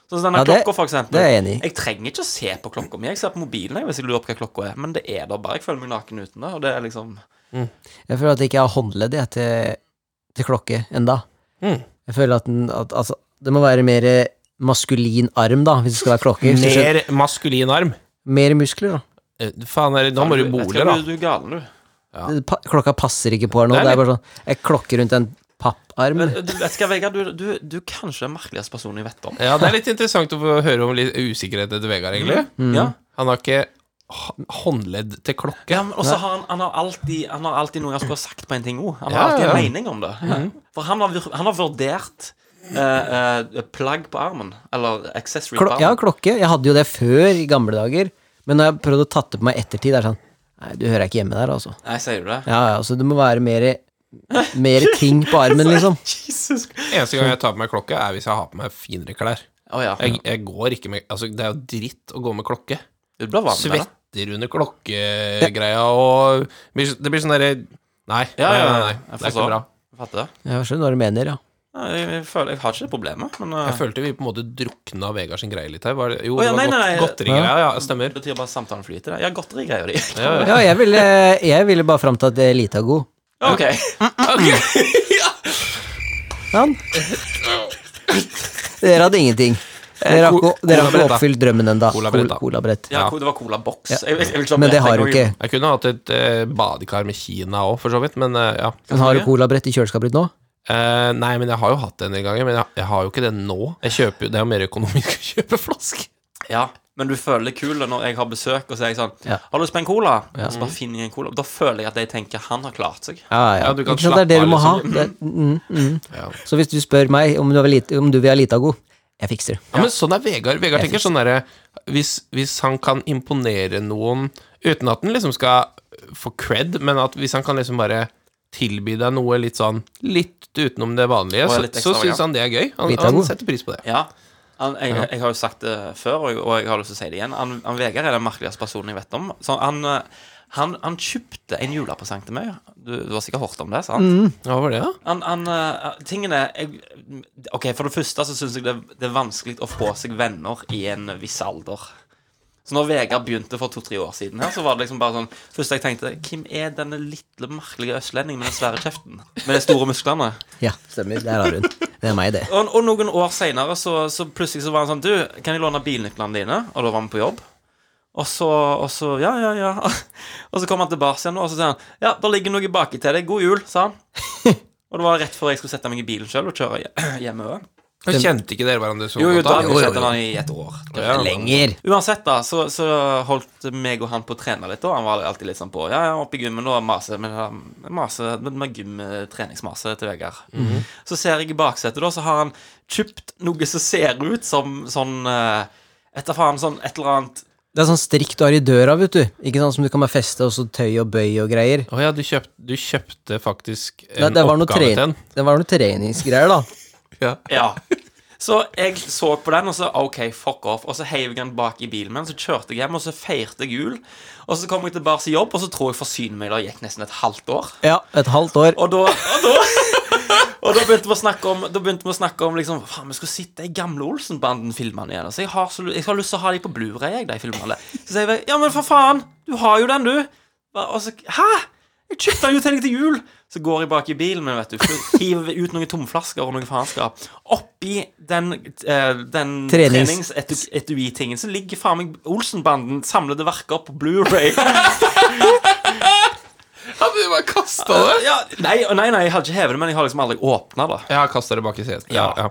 Speaker 1: Sånn som denne
Speaker 3: Ja, det-
Speaker 1: klokka, for eksempel.
Speaker 3: det er jeg enig i.
Speaker 1: Jeg trenger ikke å se på klokka mi. Jeg ser på mobilen jeg, hvis jeg lurer på hva klokka er. Men det er der bare. Jeg føler meg naken uten det. Og det er liksom
Speaker 3: Jeg føler at jeg ikke har håndledd jeg, til, til klokke enda.
Speaker 4: Mm.
Speaker 3: Jeg føler at, den, at altså, det må være mer eh, maskulin arm, da, hvis det skal være klokke. Hvis du skjønner.
Speaker 4: Mer maskulin arm.
Speaker 3: Mer muskler, da.
Speaker 4: Eh, Faen, er det, nå må du
Speaker 1: Vet
Speaker 4: bole,
Speaker 1: ikke,
Speaker 4: da.
Speaker 1: Du, du er galen, du.
Speaker 3: Det- pa- Klokka passer ikke på her nå.
Speaker 4: Det er
Speaker 3: Det er bare sånn Jeg klokker rundt en papparm.
Speaker 1: Men du vet ikke, Vegard, du, du, du er kanskje den merkeligste personen jeg vet om.
Speaker 4: Ja, Det er litt interessant å få høre om litt usikkerhet til Vegard, egentlig.
Speaker 3: Mm.
Speaker 1: Ja.
Speaker 4: Han har ikke h- håndledd til klokke.
Speaker 1: Ja, men også har han, han, har alltid, han har alltid noe jeg skulle ha sagt på en ting òg. Han har
Speaker 4: Ja,
Speaker 1: alltid en
Speaker 4: ja.
Speaker 1: mening om det.
Speaker 3: Mm.
Speaker 1: For han har, vir- han har vurdert eh, eh, plagg på armen. Eller accessory
Speaker 3: Klo
Speaker 1: på
Speaker 3: ja,
Speaker 1: armen.
Speaker 3: klokke. Jeg hadde jo det før, i gamle dager. Men når jeg har prøvd å tatt det på meg ettertid, det er sånn Nei, du hører ikke hjemme der, altså.
Speaker 1: Nei, sier du det?
Speaker 3: Ja, ja, så det må være mer, mer ting på armen, liksom.
Speaker 1: Jesus Å
Speaker 4: Eneste gang jeg tar på meg klokke, er hvis jeg har på meg finere klær.
Speaker 1: ja.
Speaker 4: Jeg, jeg går ikke med Altså, det er jo dritt å gå med klokke.
Speaker 1: Du blir vant med det.
Speaker 4: Svetter under klokkegreia og blir så- Det blir sånn derre Nei, nei,
Speaker 1: Ja, ja,
Speaker 4: nei, nei,
Speaker 1: jeg
Speaker 4: det er
Speaker 1: forstår.
Speaker 4: ikke bra.
Speaker 1: Jeg Fatter det.
Speaker 3: Jeg skjønner hva du mener, ja.
Speaker 1: Nei, Jeg, jeg, føler, jeg har ikke det problemet, men eh,
Speaker 4: Jeg følte vi på en måte drukna Vegard sin greie litt her. Var det, jo,
Speaker 1: Å, ja,
Speaker 4: det
Speaker 1: nei,
Speaker 4: var
Speaker 1: nei,
Speaker 4: godt-
Speaker 1: nei.
Speaker 4: godterigreia. Ja, stemmer.
Speaker 1: det betyr bare at samtalen flyter. det. Ja, godterigreier, de.
Speaker 3: Ja, jeg ville, jeg ville bare fram til at Elite er god.
Speaker 1: OK.
Speaker 3: Han. Dere hadde ingenting. Dere har ikke, dere har ikke oppfylt drømmen ennå.
Speaker 4: Colabrett, da.
Speaker 3: Colabrett.
Speaker 1: Ja, det var Cola Box. Jeg- jeg- jeg vil ikke ha
Speaker 3: Men det
Speaker 1: brett,
Speaker 3: har du
Speaker 1: jeg-
Speaker 3: ikke.
Speaker 4: Jeg kunne hatt et eh, badekar med Kina òg, for så vidt, men eh, ja.
Speaker 3: Men har du colabrett i kjøleskapet ditt nå?
Speaker 4: Eh, nei, men jeg har jo hatt det en del ganger, men jeg, jeg har jo ikke det nå. Jeg kjøper, jo- det er jo mer økonomisk å kjøpe flaske.
Speaker 1: Ja, men du føler det kul når jeg har besøk, og så er jeg sånn
Speaker 3: Ja.
Speaker 1: 'Har du lyst på en cola?' Og så bare finner jeg en cola. Da føler jeg at de tenker 'han har klart seg'.
Speaker 3: Ja, ja.
Speaker 4: Ja, du kan
Speaker 3: Ikke sant, det er det
Speaker 4: slappe
Speaker 3: du må ha.
Speaker 4: av, liksom.
Speaker 3: Det, er- mm, mm.
Speaker 4: Ja.
Speaker 3: Så hvis du spør meg om du, vil ha Elite- om du vil ha Elitago, jeg fikser det.
Speaker 4: Ja, men sånn er Vegard. Vegard tenker sånn derre hvis, hvis han kan imponere noen uten at han liksom skal få cred, men at hvis han kan liksom bare tilby deg noe litt sånn litt utenom det vanlige,
Speaker 1: Og
Speaker 4: så,
Speaker 1: litt ekstra,
Speaker 4: så
Speaker 1: ja.
Speaker 4: syns han det er gøy. Han,
Speaker 3: Litt av
Speaker 4: han
Speaker 3: god.
Speaker 4: setter pris på det.
Speaker 1: Ja. Han, jeg, jeg har jo sagt det før, og, og jeg har lyst til å si det igjen. Han, han Vegard er den merkeligste personen jeg vet om. Så han, eh, han, han kjøpte en julepresang til meg. Du, du har sikkert hørt om det? sant?
Speaker 4: Hva var det, da?
Speaker 1: Han, han, eh, tingene jeg, Ok, for det første så syns jeg det, det er vanskelig å få seg venner i en viss alder. Så når Vegard begynte for to-tre år siden her, så var det liksom bare sånn Først jeg tenkte Hvem er denne lille merkelige østlendingen med den svære kjeften? Med de store musklene?
Speaker 3: Ja, stemmer. Der har hun. Det er meg, det.
Speaker 1: Og, og noen år seinere så, så plutselig så var han sånn Du, kan jeg låne bilnøklene dine? Og da var vi på jobb. Og så, og så Ja, ja, ja. Og så kom han tilbake igjen, og så sier han Ja, der ligger noe baki til deg. God jul, sa han. Og det var rett før jeg skulle sette meg i bilen sjøl og kjøre hje- hjemover.
Speaker 4: Han kjente ikke dere hverandre så
Speaker 1: Jo, jo,
Speaker 4: godt?
Speaker 1: da
Speaker 4: da?
Speaker 1: hadde jeg sett han i et år.
Speaker 3: Lenger.
Speaker 1: Uansett, da, så, så holdt meg og han på å trene litt, og han var alltid litt sånn på Ja, ja, oppe i gymmen og mase med, det der- mase, med, med gymtreningsmase til Vegard. Så ser jeg i baksetet, da, så har han kjøpt noe som ser ut som sånn eh, Vet da faen, sånn et eller annet
Speaker 3: Det er sånn strikk du har i døra, vet du. Ikke sånn som du kan bare feste og så tøy og bøy og greier.
Speaker 4: Å ja, du kjøpte, du kjøpte faktisk en
Speaker 3: Det, det, var noe
Speaker 4: oppgave
Speaker 3: tre,
Speaker 4: til den.
Speaker 3: det var noe treningsgreier, da.
Speaker 1: Ja. Så jeg så på den, og så OK, fuck off. Og så heiv jeg den bak i bilen min, så kjørte jeg hjem, og så feirte jeg jul. Og så kom jeg tilbake til jobb, og så tror jeg forsynmila gikk nesten et halvt år.
Speaker 3: Ja, et halvt år.
Speaker 1: Og da, og da og da begynte vi å snakke om Da begynte vi å snakke om liksom Faen, vi skulle sitte i gamle Olsen-banden-filmene igjen. Så jeg har, så, jeg har lyst til å ha de på Blu-ray, jeg, de filmene. Så sier jeg Ja, men for faen! Du har jo den, du! Og så Hæ? Jeg kjøpte den jo til deg til jul! Så går jeg bak i bilen min, vet du. så Hiver ut noen tomflasker og noe faenskap. Oppi den, eh, den
Speaker 3: Trenings-
Speaker 1: treningsetui-tingen så ligger faen meg Olsen-banden samlede verker på Blu-ray.
Speaker 4: Hadde du bare kasta det?
Speaker 1: Ja, nei, nei, nei, jeg hadde ikke hevet det, men jeg har liksom aldri åpna det.
Speaker 4: Jeg har kasta det bak i setet. Ja,
Speaker 1: Ja.
Speaker 4: ja.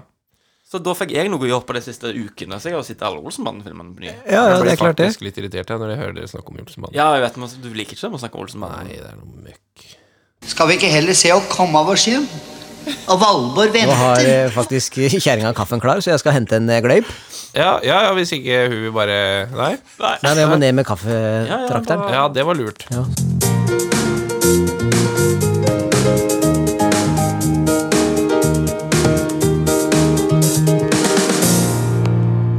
Speaker 1: Så da fikk jeg noe å gjøre på de siste ukene. Så jeg har jo sett alle Olsenbanden-filmene på ny.
Speaker 3: Ja, ja,
Speaker 4: Jeg
Speaker 3: det
Speaker 4: blir
Speaker 3: er klart det.
Speaker 4: faktisk litt irritert jeg, når jeg hører dere snakke om Jolsemann.
Speaker 1: Ja, jeg vet, men du liker ikke det med å snakke om Olsenbanden?
Speaker 4: Nei, det er noe møkk.
Speaker 6: Skal vi ikke heller se å komme av oss hjem? Og Valborg
Speaker 3: Nå har
Speaker 6: venter.
Speaker 3: eh, faktisk kjerringa kaffen klar, så jeg skal hente en eh, gløyp.
Speaker 4: Ja, ja, ja, hvis ikke hun vil bare Nei.
Speaker 3: Nei, men jeg må ned med
Speaker 1: ja,
Speaker 3: kaffetrakteren.
Speaker 4: Ja, det var lurt.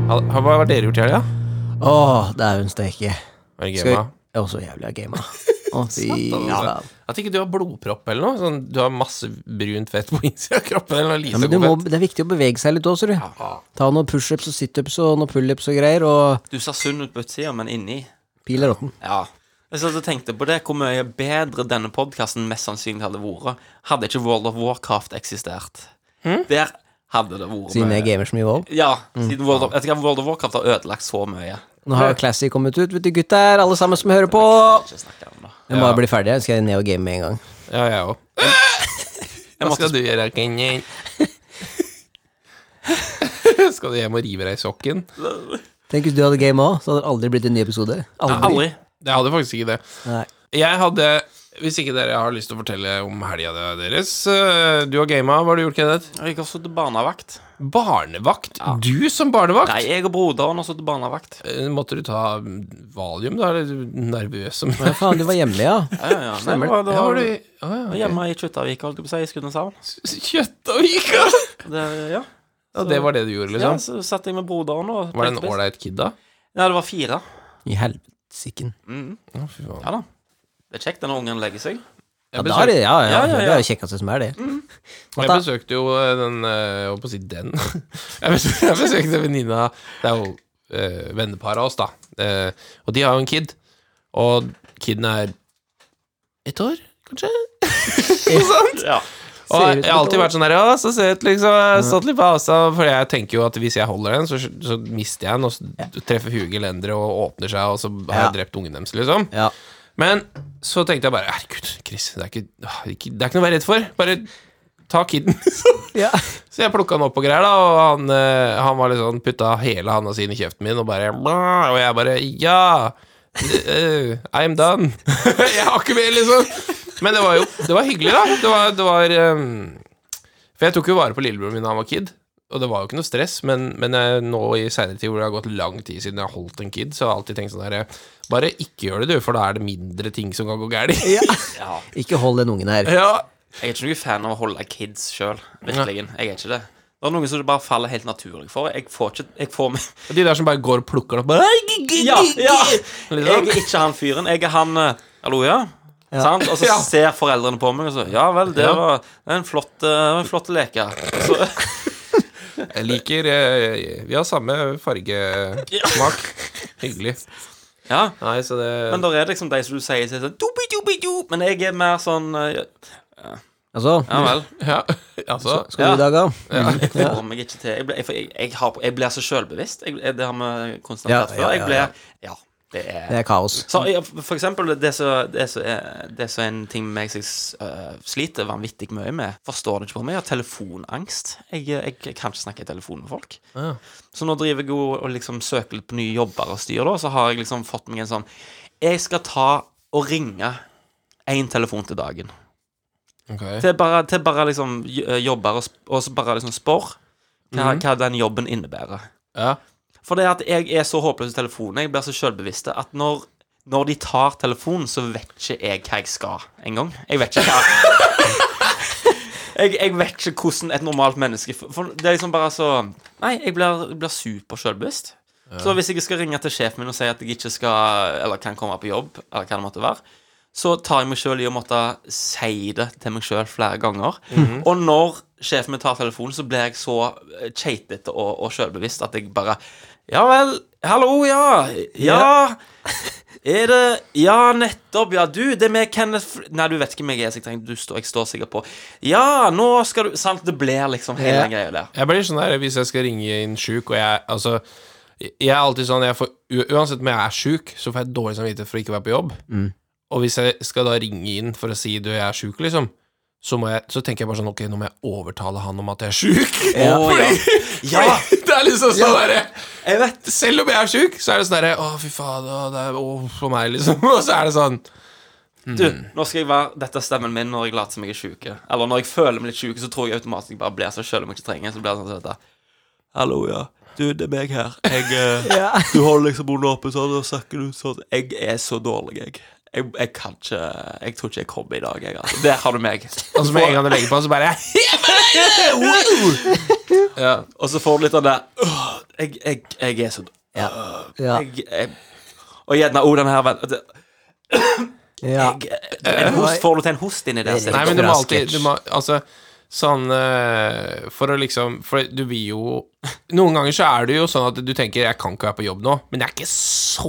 Speaker 4: Ha- ha- Hva har dere gjort i helga?
Speaker 3: Åh, dæven steike.
Speaker 4: Var det
Speaker 3: Skal-
Speaker 4: gama?
Speaker 3: Jeg er også jævlig av gama. Å, fy
Speaker 4: altså.
Speaker 3: faen.
Speaker 4: At ikke du har blodpropp eller noe? Sånn, du har masse brunt fett på innsida av kroppen? Eller noe
Speaker 3: Ja, men
Speaker 4: lite
Speaker 3: du må,
Speaker 4: god fett?
Speaker 3: det er viktig å bevege seg litt òg, ser du. Ta noen pushups og situps og noen pullups og greier, og
Speaker 1: Du ser sunn ut på utsida, men inni
Speaker 3: pil er råtten.
Speaker 1: Ja. Jeg satt og tenkte på det, hvor mye bedre denne podkasten mest sannsynlig hadde vært, hadde ikke World of Warcraft eksistert. Der hadde det vært
Speaker 3: Hm? Siden jeg
Speaker 1: mye.
Speaker 3: Mm. gamer så mye WoW.
Speaker 1: Ja, siden World of, jeg tror World of Warcraft har ødelagt så mye.
Speaker 3: Nå har jo Classic kommet ut, vet du gutter, alle sammen som hører på.
Speaker 1: Ikke snakke om det.
Speaker 3: Jeg må bare bli ferdig, jeg skal ned og game med en gang.
Speaker 4: Ja, jeg òg. Hva skal du gjøre, Kenyan? skal du hjem og rive deg i sokken?
Speaker 3: Tenk hvis du hadde game òg, så hadde det aldri blitt en ny episode. Aldri.
Speaker 1: Aldri.
Speaker 4: Jeg hadde faktisk ikke det.
Speaker 3: Nei.
Speaker 4: Jeg hadde Hvis ikke dere har lyst til å fortelle om helga deres øh, Du har gama, hva har du gjort, Kenneth?
Speaker 1: Jeg har sittet barnevakt.
Speaker 4: Barnevakt? Du som barnevakt?
Speaker 1: Nei, jeg og broderen har sittet barnevakt.
Speaker 4: Eh, Måtte du ta mm, valium, da? Er du nervøs som
Speaker 3: Ja, faen, du var hjemme, ja.
Speaker 1: Ja, ja, ja. Nei, det var, det
Speaker 4: Ja, var
Speaker 1: var,
Speaker 4: du
Speaker 1: det
Speaker 4: Å
Speaker 1: var
Speaker 4: ja.
Speaker 1: hjemme i Kjuttaviga, holdt jeg på å si, i Skudeneshavn.
Speaker 4: Kjøttvika!
Speaker 1: Det, ja.
Speaker 4: Ja, det var det du gjorde,
Speaker 1: Ja,
Speaker 4: liksom?
Speaker 1: så satt jeg med broderen og
Speaker 4: Var det en
Speaker 1: pekte på-
Speaker 4: ålreit kid, da?
Speaker 1: Ja, det var fire. Mm.
Speaker 3: I helvetikken.
Speaker 4: Å, fy faen.
Speaker 1: Ja da. Det er kjekt når ungen legger seg.
Speaker 3: Ja,
Speaker 4: Jeg
Speaker 3: da er
Speaker 4: besøkte,
Speaker 3: det, ja, ja,
Speaker 1: Ja, ja, ja.
Speaker 3: det er jo kjekkeste som er det.
Speaker 4: jeg
Speaker 3: da-
Speaker 4: besøkte jo eh, den eh, Jeg holdt på å si den. Jeg besøkte, jeg besøkte venninna Det er jo eh, vennepar av oss, da. Eh, og de har jo en kid. Og kiden er ett år, kanskje? Noe sånt.
Speaker 1: Ja.
Speaker 4: Og
Speaker 3: Ser
Speaker 4: jeg har
Speaker 3: ut som et
Speaker 4: alltid
Speaker 3: år.
Speaker 4: vært sånn der, å, så søt, liksom. Jeg har Stått litt på avstand, for jeg tenker jo at hvis jeg holder den, så, så mister jeg den, og så treffer huet gelenderet og åpner seg, og så har jeg
Speaker 3: Ja.
Speaker 4: drept ungen deres, liksom.
Speaker 3: Ja.
Speaker 4: Men så tenkte jeg bare Herregud, Chris, det er ikke, åh, ikke, det er ikke noe å være redd for. Bare ta kiden.
Speaker 3: Ja.
Speaker 4: så jeg plukka han opp og greier, da, og han, eh, han var litt sånn putta hele handa si inn i kjeften min, og bare «Bæ», Og jeg bare Ja! eh, I'm done. jeg har ikke mer, liksom. Men det var jo det var hyggelig, da. Det var, det var eh, For jeg tok jo vare på lillebroren min da han var kid. Og det var jo ikke noe stress, men, men eh, nå i seinere tid, hvor det har gått lang tid siden jeg har holdt en kid, så har jeg alltid tenkt sånn herre Bare ikke gjør det, du, for da er det mindre ting som kan gå gærent.
Speaker 1: ja.
Speaker 3: Ikke hold den ungen her.
Speaker 4: ja.
Speaker 1: Jeg er ikke noen fan av å holde kids sjøl. Virkelig. Jeg er ikke det. Det er noen som det bare faller helt naturlig for. Jeg får ikke Jeg får meg
Speaker 4: Og de der som bare går og plukker den opp bare,
Speaker 1: Ja! ja. Jeg
Speaker 4: Liksom.
Speaker 1: er ikke han fyren. Jeg er han eh, Hallo, ja? Sant? Og så
Speaker 4: Ja.
Speaker 1: ser foreldrene på meg og så Ja vel, det
Speaker 4: Ja.
Speaker 1: var det er en flott, eh, det var en flott leke. Så,
Speaker 4: Jeg liker eh, Vi har samme fargesmak. Hyggelig.
Speaker 1: ja.
Speaker 4: Nei, så det
Speaker 1: Men da er det liksom de som du sier sier sånn «Dubi, dubi, du», Men jeg er mer sånn eh,
Speaker 3: Altså,
Speaker 1: Ja vel.
Speaker 4: Ja, altså
Speaker 3: skal du i dag, da?
Speaker 1: Jeg får meg ikke til. Jeg ble, jeg, jeg, jeg, har, jeg blir så sjølbevisst. Jeg- Det har vi konstatert
Speaker 3: Ja,
Speaker 1: før.
Speaker 3: ja,
Speaker 1: Jeg
Speaker 3: ja,
Speaker 1: ble
Speaker 3: ja.
Speaker 1: Ja, det
Speaker 3: Det
Speaker 1: er
Speaker 3: er kaos.
Speaker 1: så, ja, For eksempel, det som det som er, det som er en ting med meg som jeg s- øh, sliter vanvittig mye med Forstår det ikke på meg, jeg har telefonangst. Jeg, eh, jeg, jeg kan ikke snakke i telefonen med folk. Så nå driver jeg jo og liksom søker litt på nye jobber og styr, da. Så har jeg liksom fått meg en sånn Jeg skal ta og ringe én telefon til dagen.
Speaker 4: Ok.
Speaker 1: Til bare, til bare liksom j- jobber og, sp- og så bare liksom spør hva, hva den jobben innebærer.
Speaker 4: Ja.
Speaker 1: For det at jeg er så håpløs i telefonen, jeg blir så sjølbevisst at når når de tar telefonen, så vet ikke jeg hva jeg skal engang. Jeg vet ikke hva jeg, jeg vet ikke hvordan et normalt menneske for- For det er liksom bare så Nei, jeg blir, jeg blir super sjølbevisst. Så hvis jeg skal ringe til sjefen min og si at jeg ikke skal Eller kan komme på jobb, eller hva det måtte være, så tar jeg meg sjøl i å måtte si det til meg sjøl flere ganger. Og når sjefen min tar telefonen, så blir jeg så eh, keitete og, og sjølbevisst at jeg bare Ja vel. Hallo, ja. Ja. Er det Ja, nettopp. Ja, du, det med Kenneth Fl Nei, du vet ikke hvem jeg er. Så jeg, tenker, du står, jeg står sikkert på Ja, nå skal du Sant, det blir liksom hele
Speaker 3: Ja.
Speaker 1: den greia der.
Speaker 4: Jeg blir sånn der hvis jeg skal ringe inn sjuk, og jeg Altså, jeg er alltid sånn jeg får, u- Uansett om jeg er sjuk, så får jeg dårlig samvittighet for å ikke være på jobb.
Speaker 1: Mm.
Speaker 4: Og hvis jeg skal da ringe inn for å si du, jeg er sjuk, liksom, så, må jeg, så tenker jeg bare sånn Ok, nå må jeg overtale han om at jeg er sjuk.
Speaker 1: Ja. ja. ja,
Speaker 4: det er liksom sånn derre
Speaker 1: jeg vet
Speaker 4: Selv om jeg er sjuk, så er det sånn derre Å, fy faen, å, det er å, for meg, liksom. Og så er det sånn
Speaker 1: Du, nå skal jeg være Dette er stemmen min når jeg later som jeg er sjuk. Eller når jeg føler meg litt sjuk, så tror jeg automatisk jeg bare blir sånn selv om jeg ikke trenger. Så blir det sånn som dette. Hallo, ja. Du, det er meg her. Jeg, eh, Du holder liksom munnen åpen sånn, og snakker ut sånn. Jeg er så dårlig, jeg. Jeg, jeg kan ikke Jeg tror ikke jeg kommer i dag, jeg. Altså. Der har du meg.
Speaker 4: Og så med en gang du legger på, så bare
Speaker 1: Ja. Og så får du litt av det «Åh, jeg, jeg, jeg er så
Speaker 3: Ja.
Speaker 1: jeg, jeg, Og gjerne oh, denne her vet du,
Speaker 3: ja.
Speaker 1: jeg- en host, Får du til en host inni der?
Speaker 4: Nei, men du må
Speaker 3: Bra
Speaker 4: alltid
Speaker 3: sketsj.
Speaker 4: du må, Altså, sånn eh, For å liksom For du vil jo Noen ganger så er det jo sånn at du tenker 'jeg kan ikke være på jobb nå', men jeg er ikke så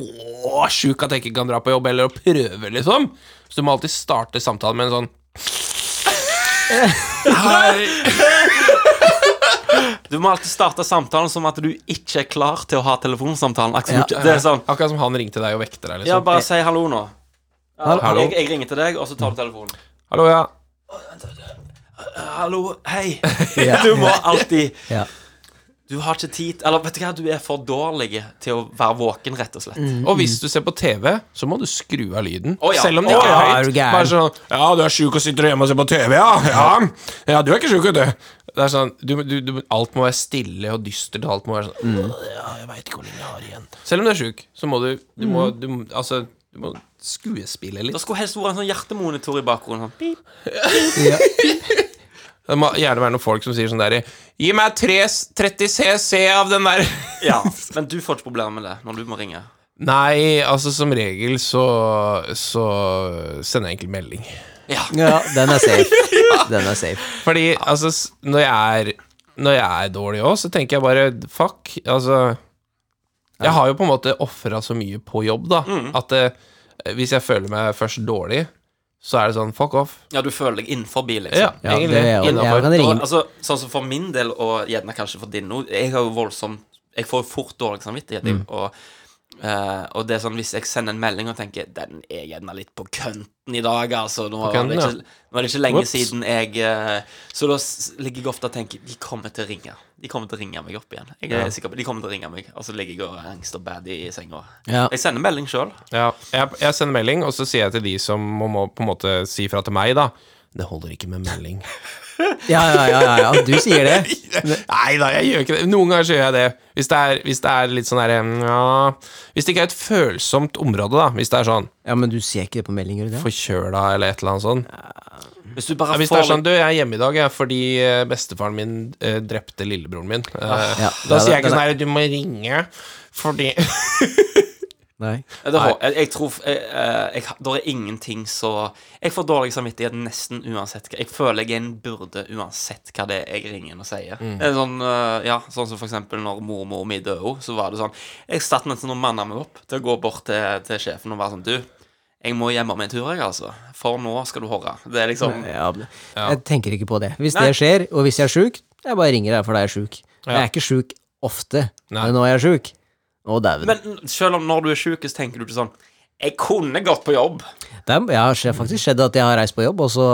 Speaker 4: sjuk at jeg ikke kan dra på jobb, eller å prøve, liksom. Så du må alltid starte samtalen med en sånn Hei.
Speaker 1: Du må alltid starte samtalen som at du ikke er klar til å ha telefonsamtalen. Akkurat, som du ikke- Det er sånn
Speaker 4: Akkurat som han ringte deg og vekte deg,
Speaker 1: Ja,
Speaker 4: liksom.
Speaker 1: bare si hallo nå. Ja,
Speaker 4: Hallo.
Speaker 1: Jeg, jeg ringer til deg, og så tar du telefonen.
Speaker 4: Hallo, ja.
Speaker 1: Hallo, hei.
Speaker 3: Ja.
Speaker 1: Du må alltid
Speaker 3: Ja.
Speaker 1: Du har ikke tid Eller vet du hva, du er for dårlig til å være våken, rett og slett.
Speaker 3: Mm.
Speaker 4: Og hvis du ser på TV, så må du skru av lyden.
Speaker 1: Å, ja.
Speaker 4: Selv om det
Speaker 1: Å,
Speaker 4: ikke
Speaker 1: ja,
Speaker 4: er
Speaker 3: er du
Speaker 4: høyt.
Speaker 3: gæren?
Speaker 4: Bare sånn 'Ja, du er sjuk og sitter hjemme og ser på TV, ja?' Ja, ja du er ikke sjuk, vet du. Det er sånn, du, du, du, alt må være stille og dystert, og alt må være sånn
Speaker 3: Mm.
Speaker 4: ja, jeg vet ikke hvor lenge jeg har igjen. Selv om du er sjuk, så må du, du, må,
Speaker 3: Mm.
Speaker 4: du må- Altså, du må skuespille
Speaker 1: Det
Speaker 4: litt.
Speaker 1: skulle helst vært en sånn hjertemonitor i bakgrunnen. Sånn. pip.
Speaker 4: Det må gjerne være noen folk som sier sånn der 'Gi meg tre, s- 30 CC av den der'
Speaker 1: Ja, Men du får ikke problemer med det når du må ringe.
Speaker 4: Nei, altså, som regel så, så sender jeg egentlig melding.
Speaker 3: ja, den er safe. Den er safe.
Speaker 4: Fordi altså, s- når jeg er, når jeg er dårlig òg, så tenker jeg bare fuck. Altså Jeg har jo på en måte ofra så mye på jobb, da, at eh, hvis jeg føler meg først dårlig, så er det sånn fuck off.
Speaker 1: Ja, du føler deg innenfor, liksom.
Speaker 4: Ja,
Speaker 3: Ja, det
Speaker 4: egentlig.
Speaker 3: er jo,
Speaker 4: innenfor.
Speaker 3: jeg kan
Speaker 1: Og,
Speaker 3: ringe
Speaker 1: altså, sånn som for min del, og gjerne kanskje for din nå Jeg har jo voldsomt Jeg får jo fort dårlig samvittighet.
Speaker 4: Mm.
Speaker 1: jeg, Og, eh, og det er sånn hvis jeg sender en melding og tenker Den er gjerne litt på kønten i dag, altså. Nå, er,
Speaker 4: kønten,
Speaker 1: det
Speaker 4: ja.
Speaker 1: ikke, nå er det ikke lenge
Speaker 4: Whoops.
Speaker 1: siden jeg eh, Så da s- ligger jeg ofte og tenker De kommer til å ringe. De kommer til å ringe meg opp igjen. Jeg er sikker på De kommer til å ringe meg. Og så ligger jeg og er angst og bad i i senga.
Speaker 3: Ja.
Speaker 1: Jeg sender melding sjøl.
Speaker 4: Ja, jeg, jeg sender melding, og så sier jeg til de som må, må på en måte si fra til meg, da. Det holder ikke med melding.
Speaker 3: Ja, ja, ja, ja, ja. Du sier det.
Speaker 4: Nei da, jeg gjør ikke det. Noen ganger så gjør jeg det. Hvis det er, hvis det er litt sånn derre ja, Hvis det ikke er et følsomt område, da. Hvis det er sånn
Speaker 3: Ja, men du ser ikke det på melding, gjør du det?
Speaker 4: forkjøla eller et eller annet sånt.
Speaker 1: Hvis du bare
Speaker 4: Ja, hvis det
Speaker 1: får
Speaker 4: er sånn, du, jeg er hjemme i dag jeg, fordi eh, bestefaren min eh, drepte lillebroren min. Eh,
Speaker 3: Ja,
Speaker 4: da
Speaker 3: ja,
Speaker 4: sier jeg ikke
Speaker 3: den
Speaker 4: sånn
Speaker 3: er-
Speaker 4: her, du må ringe fordi
Speaker 3: Nei.
Speaker 1: Ja, Det, har- jeg, jeg tror jeg, eh, jeg, har- Der er ingenting så Jeg får dårlig samvittighet nesten uansett hva Jeg føler jeg er en burde uansett hva det er jeg ringer inn og sier.
Speaker 4: Mm.
Speaker 1: Det er sånn, eh, ja, sånn som for eksempel når mormor mi døde, så var det sånn Jeg satt nesten og manna meg opp til å gå bort til, til sjefen og være sånn Du, jeg må hjemme med en tur, jeg, altså. For nå skal du høre. Det er liksom
Speaker 3: Ja, men Jeg tenker ikke på det. Hvis
Speaker 1: Nei.
Speaker 3: det skjer, og hvis jeg er sjuk, jeg bare ringer deg for da er jeg sjuk. Jeg er ikke sjuk ofte,
Speaker 4: Nei.
Speaker 3: men nå er jeg sjuk. Å, dæven.
Speaker 1: Men selv om når du er sjuk, så tenker du ikke sånn Jeg kunne gått på jobb.
Speaker 3: Det er- ja, har faktisk skjedd at jeg har reist på jobb, og så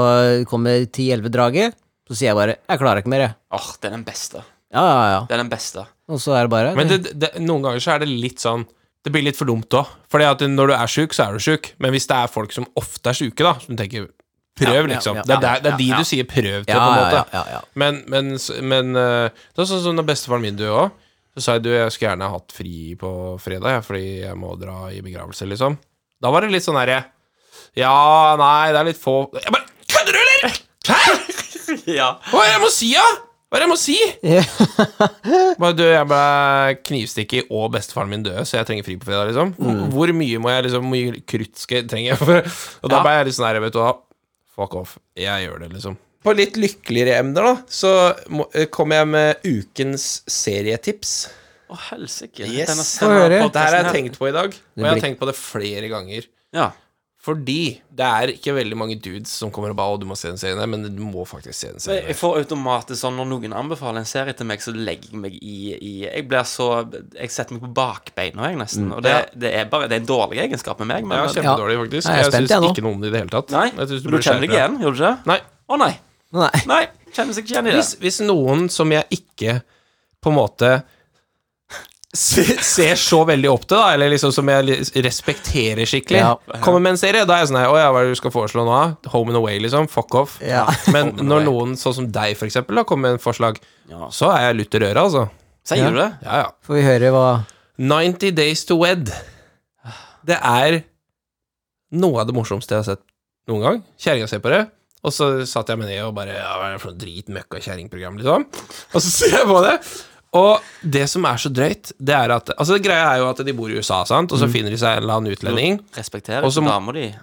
Speaker 3: kommer 10-11 draget, så sier jeg bare 'jeg klarer ikke mer', jeg.
Speaker 1: Åh, det er den beste.
Speaker 3: Ja, ja, ja.
Speaker 1: Det er den beste.
Speaker 3: Og så er det bare
Speaker 4: Men det, det, noen ganger så er det litt sånn Det blir litt for dumt òg. Fordi at når du er sjuk, så er du sjuk. Men hvis det er folk som ofte er sjuke, da, som tenker Prøv,
Speaker 3: Ja, ja,
Speaker 4: liksom.
Speaker 3: ja,
Speaker 4: det, er,
Speaker 3: ja,
Speaker 4: der- det er de
Speaker 1: ja, ja.
Speaker 4: du sier prøv til,
Speaker 3: ja,
Speaker 4: på en
Speaker 3: ja,
Speaker 4: måte.
Speaker 3: ja, ja, ja.
Speaker 4: Men, men, s- men eh, det er sånn som når bestefaren min døde òg. Så sa jeg du, jeg skulle gjerne hatt fri på fredag, jeg, fordi jeg må dra i begravelse, liksom. Da var det litt sånn herre Ja, nei, det er litt få Jeg bare Kødder du, eller?! Hæ?!
Speaker 1: Ja.
Speaker 4: Hva er det jeg må si, da?! Hva er det jeg må si?! Bare, du, jeg ble knivstikket, og bestefaren min døde, så jeg trenger fri på fredag, liksom. Hvor mye må jeg liksom Hvor mye krutt skal jeg trenger jeg for Og da
Speaker 1: Ja.
Speaker 4: ble jeg litt sånn her, vet du hva Fuck off. Jeg gjør det, liksom. På litt lykkeligere emner, da, så må- eh, kommer jeg med ukens serietips.
Speaker 1: Å, helsike.
Speaker 4: Yes.
Speaker 1: Denne-
Speaker 4: Få
Speaker 1: denne
Speaker 3: høre.
Speaker 1: podcasten
Speaker 4: Det her har jeg
Speaker 1: her-
Speaker 4: tenkt på i dag, og jeg
Speaker 3: blir-
Speaker 4: har tenkt på det flere ganger.
Speaker 1: Ja.
Speaker 4: Fordi det er ikke veldig mange dudes som kommer og bare 'Å, du må se den serien der', men du må faktisk se den
Speaker 1: Så jeg
Speaker 4: serien der.
Speaker 1: jeg får automatisk sånn Når noen anbefaler en serie til meg, så legger jeg meg i, i Jeg blir så Jeg setter meg på bakbeina, jeg, nesten. Og det, det er bare Det er en dårlig egenskap med meg. Men,
Speaker 4: Mm.
Speaker 1: eh,
Speaker 4: Ja, kjempedårlig, faktisk.
Speaker 3: Nei, jeg er
Speaker 4: jeg syns
Speaker 3: spent, jeg, nå.
Speaker 4: ikke noe om det i det hele tatt.
Speaker 1: nei,
Speaker 4: Jeg synes
Speaker 1: du
Speaker 4: burde
Speaker 1: kjenner deg
Speaker 4: skjerpe
Speaker 1: igjen, gjorde du ikke?
Speaker 4: Nei.
Speaker 1: Å nei.
Speaker 3: Nei.
Speaker 1: Nei, kjenner seg ikke igjen i det.
Speaker 4: Hvis, hvis noen som jeg ikke på en måte se, ser så veldig opp til, da, eller liksom som jeg li- respekterer skikkelig,
Speaker 3: Ja.
Speaker 4: kommer med en serie, da er jeg sånn her Å ja, hva er det du skal foreslå nå? da? Home and Away, liksom? Fuck off.
Speaker 3: Ja.
Speaker 4: Men når noen, sånn som deg, for eksempel, da, kommer med en forslag,
Speaker 1: Ja.
Speaker 4: så er jeg lutter øret, altså.
Speaker 1: Sier
Speaker 3: Ja.
Speaker 1: du det?
Speaker 4: Ja, ja.
Speaker 3: Får vi høre hva
Speaker 4: 90 Days to Wed. Det er noe av det morsomste jeg har sett noen gang. Kjerringa ser på det, og så satt jeg meg ned og bare ja, Hva er det for noe drit møkka-kjerringprogram, liksom? Og så ser jeg på det. Og det som er så drøyt, det er at Altså, det greia er jo at de bor i USA, sant,
Speaker 1: Mm.
Speaker 4: og så finner de seg en eller annen utlending.
Speaker 1: Respekterer
Speaker 4: Og så
Speaker 1: ikke
Speaker 4: må-
Speaker 1: dama di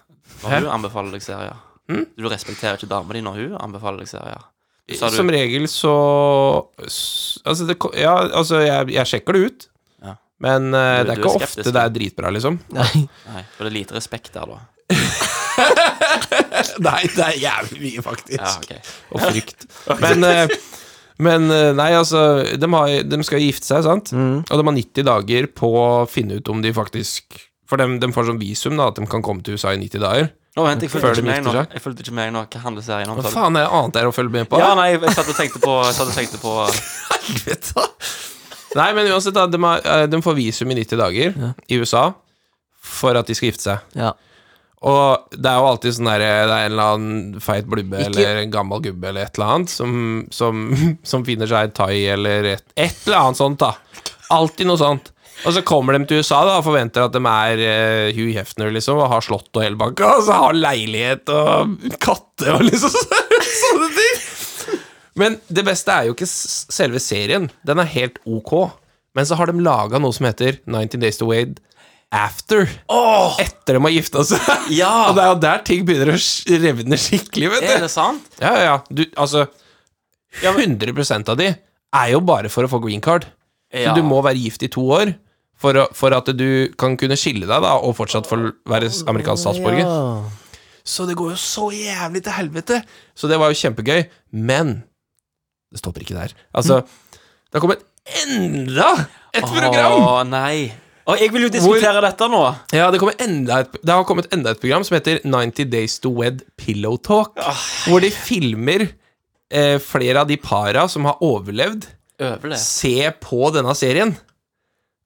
Speaker 4: Hæ?
Speaker 1: når
Speaker 4: Hm?
Speaker 1: hun anbefaler deg serier? Du respekterer ikke dama di når hun anbefaler deg serier? Sa du-
Speaker 4: Som regel så s- Altså, det, ko- ja, altså jeg, jeg sjekker det ut,
Speaker 1: Ja.
Speaker 4: men
Speaker 1: Du-
Speaker 4: eh, det er
Speaker 1: du er
Speaker 4: ikke
Speaker 1: skeptisk,
Speaker 4: ofte det er dritbra, liksom.
Speaker 3: Nei.
Speaker 1: Nei, for det er lite respekt der, da.
Speaker 4: Nei, det er jævlig mye, faktisk.
Speaker 1: Ja, ok.
Speaker 4: og frykt. Men, eh, men eh, nei, altså de, har, de skal gifte seg, sant? Og de har 90 dager på å finne ut om de faktisk For de, de får sånn visum, da, at de kan komme til USA i 90 dager.
Speaker 1: Nå, vent, jeg fulgte
Speaker 4: Før de
Speaker 1: ikke med
Speaker 4: gifter
Speaker 1: nå.
Speaker 4: seg.
Speaker 1: Jeg fulgte ikke med nå. Hva handler serien om?
Speaker 4: Hva
Speaker 1: sa du?
Speaker 4: faen er det annet der å følge med på?
Speaker 1: Ja, nei, jeg satt og tenkte på, jeg satt og tenkte på
Speaker 4: Helvete, da. Nei, men uansett, da, de, har, eh, de får visum i 90 dager i USA for at de skal gifte seg.
Speaker 3: Ja.
Speaker 4: Og det er jo alltid sånn der Det er en eller annen feit blubbe eller en gammel gubbe eller et eller annet som, som, som finner seg et thai eller et, et eller annet sånt, da. Alltid noe sånt. Og så kommer de til USA da og forventer at de er eh, Hugh Hefner liksom og har slott og hele banka, og så har leilighet og katte og liksom så, sånne ting. Men det beste er jo ikke s- selve serien. Den er helt ok. Men så har de laga noe som heter 90 Days to Wade After. Etter de har gifta seg.
Speaker 1: Ja!
Speaker 4: Og det er jo der ting begynner å sk- revne skikkelig, vet
Speaker 1: Er
Speaker 4: du.
Speaker 1: det sant?
Speaker 4: Ja, ja, ja. Du, altså 100 av de er jo bare for å få green card. Så
Speaker 1: Ja.
Speaker 4: du må være gift i to år for, å, for at du kan kunne skille deg, da, og fortsatt få være s- amerikansk statsborger.
Speaker 3: Ja.
Speaker 4: Så det går jo så jævlig til helvete. Så det var jo kjempegøy, men det stopper ikke der. Altså, det har kommet enda et program!
Speaker 1: Å, nei. Å, jeg vil jo diskutere dette nå.
Speaker 4: Ja, det, kommer enda et, det har kommet enda et program som heter 90 Days to Wed Pillow Talk, hvor de filmer eh, flere av de para som har overlevd,
Speaker 1: Overlev.
Speaker 4: se på denne serien.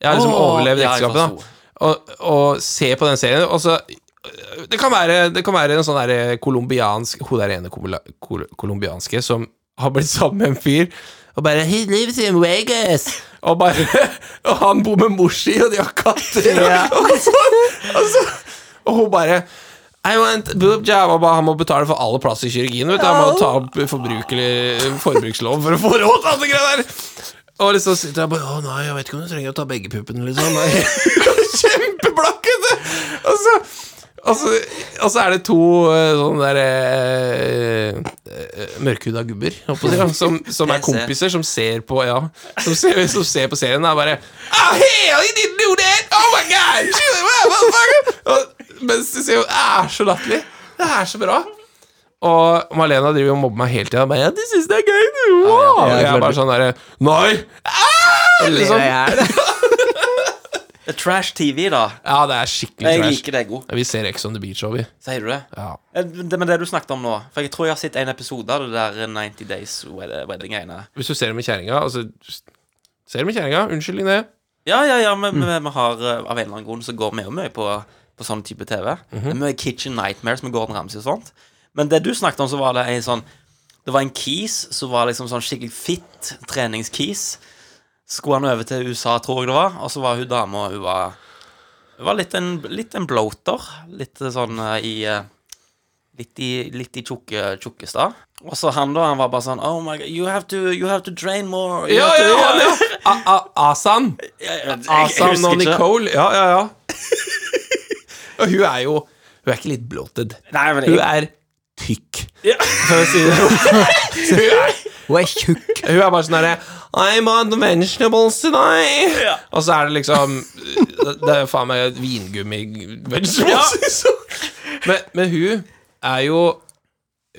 Speaker 4: Jeg har liksom
Speaker 1: Åh,
Speaker 4: overlevd
Speaker 1: ja, jeg sånn
Speaker 4: ekteskapet,
Speaker 1: forsto.
Speaker 4: da. Og, og se på den serien, og så det kan, være, det kan være en sånn der kolumbiansk Hun der ene kol- kol- kolumbianske som har blitt sammen med en fyr, og bare He lives in Vegas. Og, bare, og han bor med mor si, og de har katter. Og, så, og, så, og hun bare i want boob job Og bare, Han må betale for alle plasser i kirurgien. Vet du. Han må ta opp forbrukerlig- forbrukslov for å få råd til alt det greier der. Og liksom sitter jeg bare Å nei, jeg vet ikke om du trenger å ta begge puppene, liksom. Nei. Kjempeblakkete! Og så og så, og så er det to eh, sånne der eh, eh, mørkhuda gubber, holdt på å si, da, som, som er
Speaker 1: Jeg ser.
Speaker 4: kompiser, som ser på Ja, som ser, som ser på serien og er bare Oh, hell, you didn't do that! Oh my god! Shoot, ah, motherfucker!» Og, mens de ser jo Det er så latterlig. Det er så bra. Og Malena driver og mobber meg hele tida. Ja, du syns det er gøy, du! Wow.
Speaker 3: ja,
Speaker 4: og jeg
Speaker 3: klart
Speaker 4: er bare sånn derre Nei! Ah! Liksom.
Speaker 1: Det er Trash TV, da.
Speaker 4: Ja, det er skikkelig
Speaker 1: Jeg
Speaker 4: trash.
Speaker 1: liker det god.
Speaker 4: Ja, Vi ser Ex on the Beach òg, vi.
Speaker 1: Sier du det?
Speaker 4: Ja.
Speaker 1: Eh, Det, men det du snakket om nå For jeg tror jeg har sett en episode av det der 90 Days Wed- Wedding-greiene.
Speaker 4: Hvis du ser det med kjerringa altså, Ser det med kjerringa, unnskyld Linnea.
Speaker 1: Ja, ja, ja,
Speaker 4: Mm.
Speaker 1: men men vi har eh, av en eller annen grunn så går vi jo mye på, på sånn type TV.
Speaker 4: Mhm.
Speaker 1: Det er mye Kitchen Nightmares med Gordon Ramsay og sånt. Men det du snakket om, så var det en sånn Det var en kis som var liksom sånn skikkelig fit treningskis. skulle han over til USA, tror jeg det var. Og så var hun dama, hun var, hun var litt, en, litt en bloater. Litt sånn eh, i eh, Litt i, litt i tjukke, tjukkestad. Og så han, da. Han var bare sånn Oh my God, you have to, you have to drain more. You
Speaker 4: Ja,
Speaker 1: have to,
Speaker 4: ja, ja, ja. A- A- Asan. Asan og Nicole. Ja, ja, ja. Og hun er jo Hun er ikke litt bloated.
Speaker 1: Nei, men
Speaker 4: Hun
Speaker 1: jeg,
Speaker 4: er tykk.
Speaker 1: Ja.
Speaker 4: For å si det sånn. hun er,
Speaker 3: Hun er tjukk.
Speaker 4: hun er bare sånn herre I'm on vegetables today.
Speaker 1: Ja.
Speaker 4: Og så er det liksom Det er faen meg vingummi-vegetables. liksom. Men, men hun er jo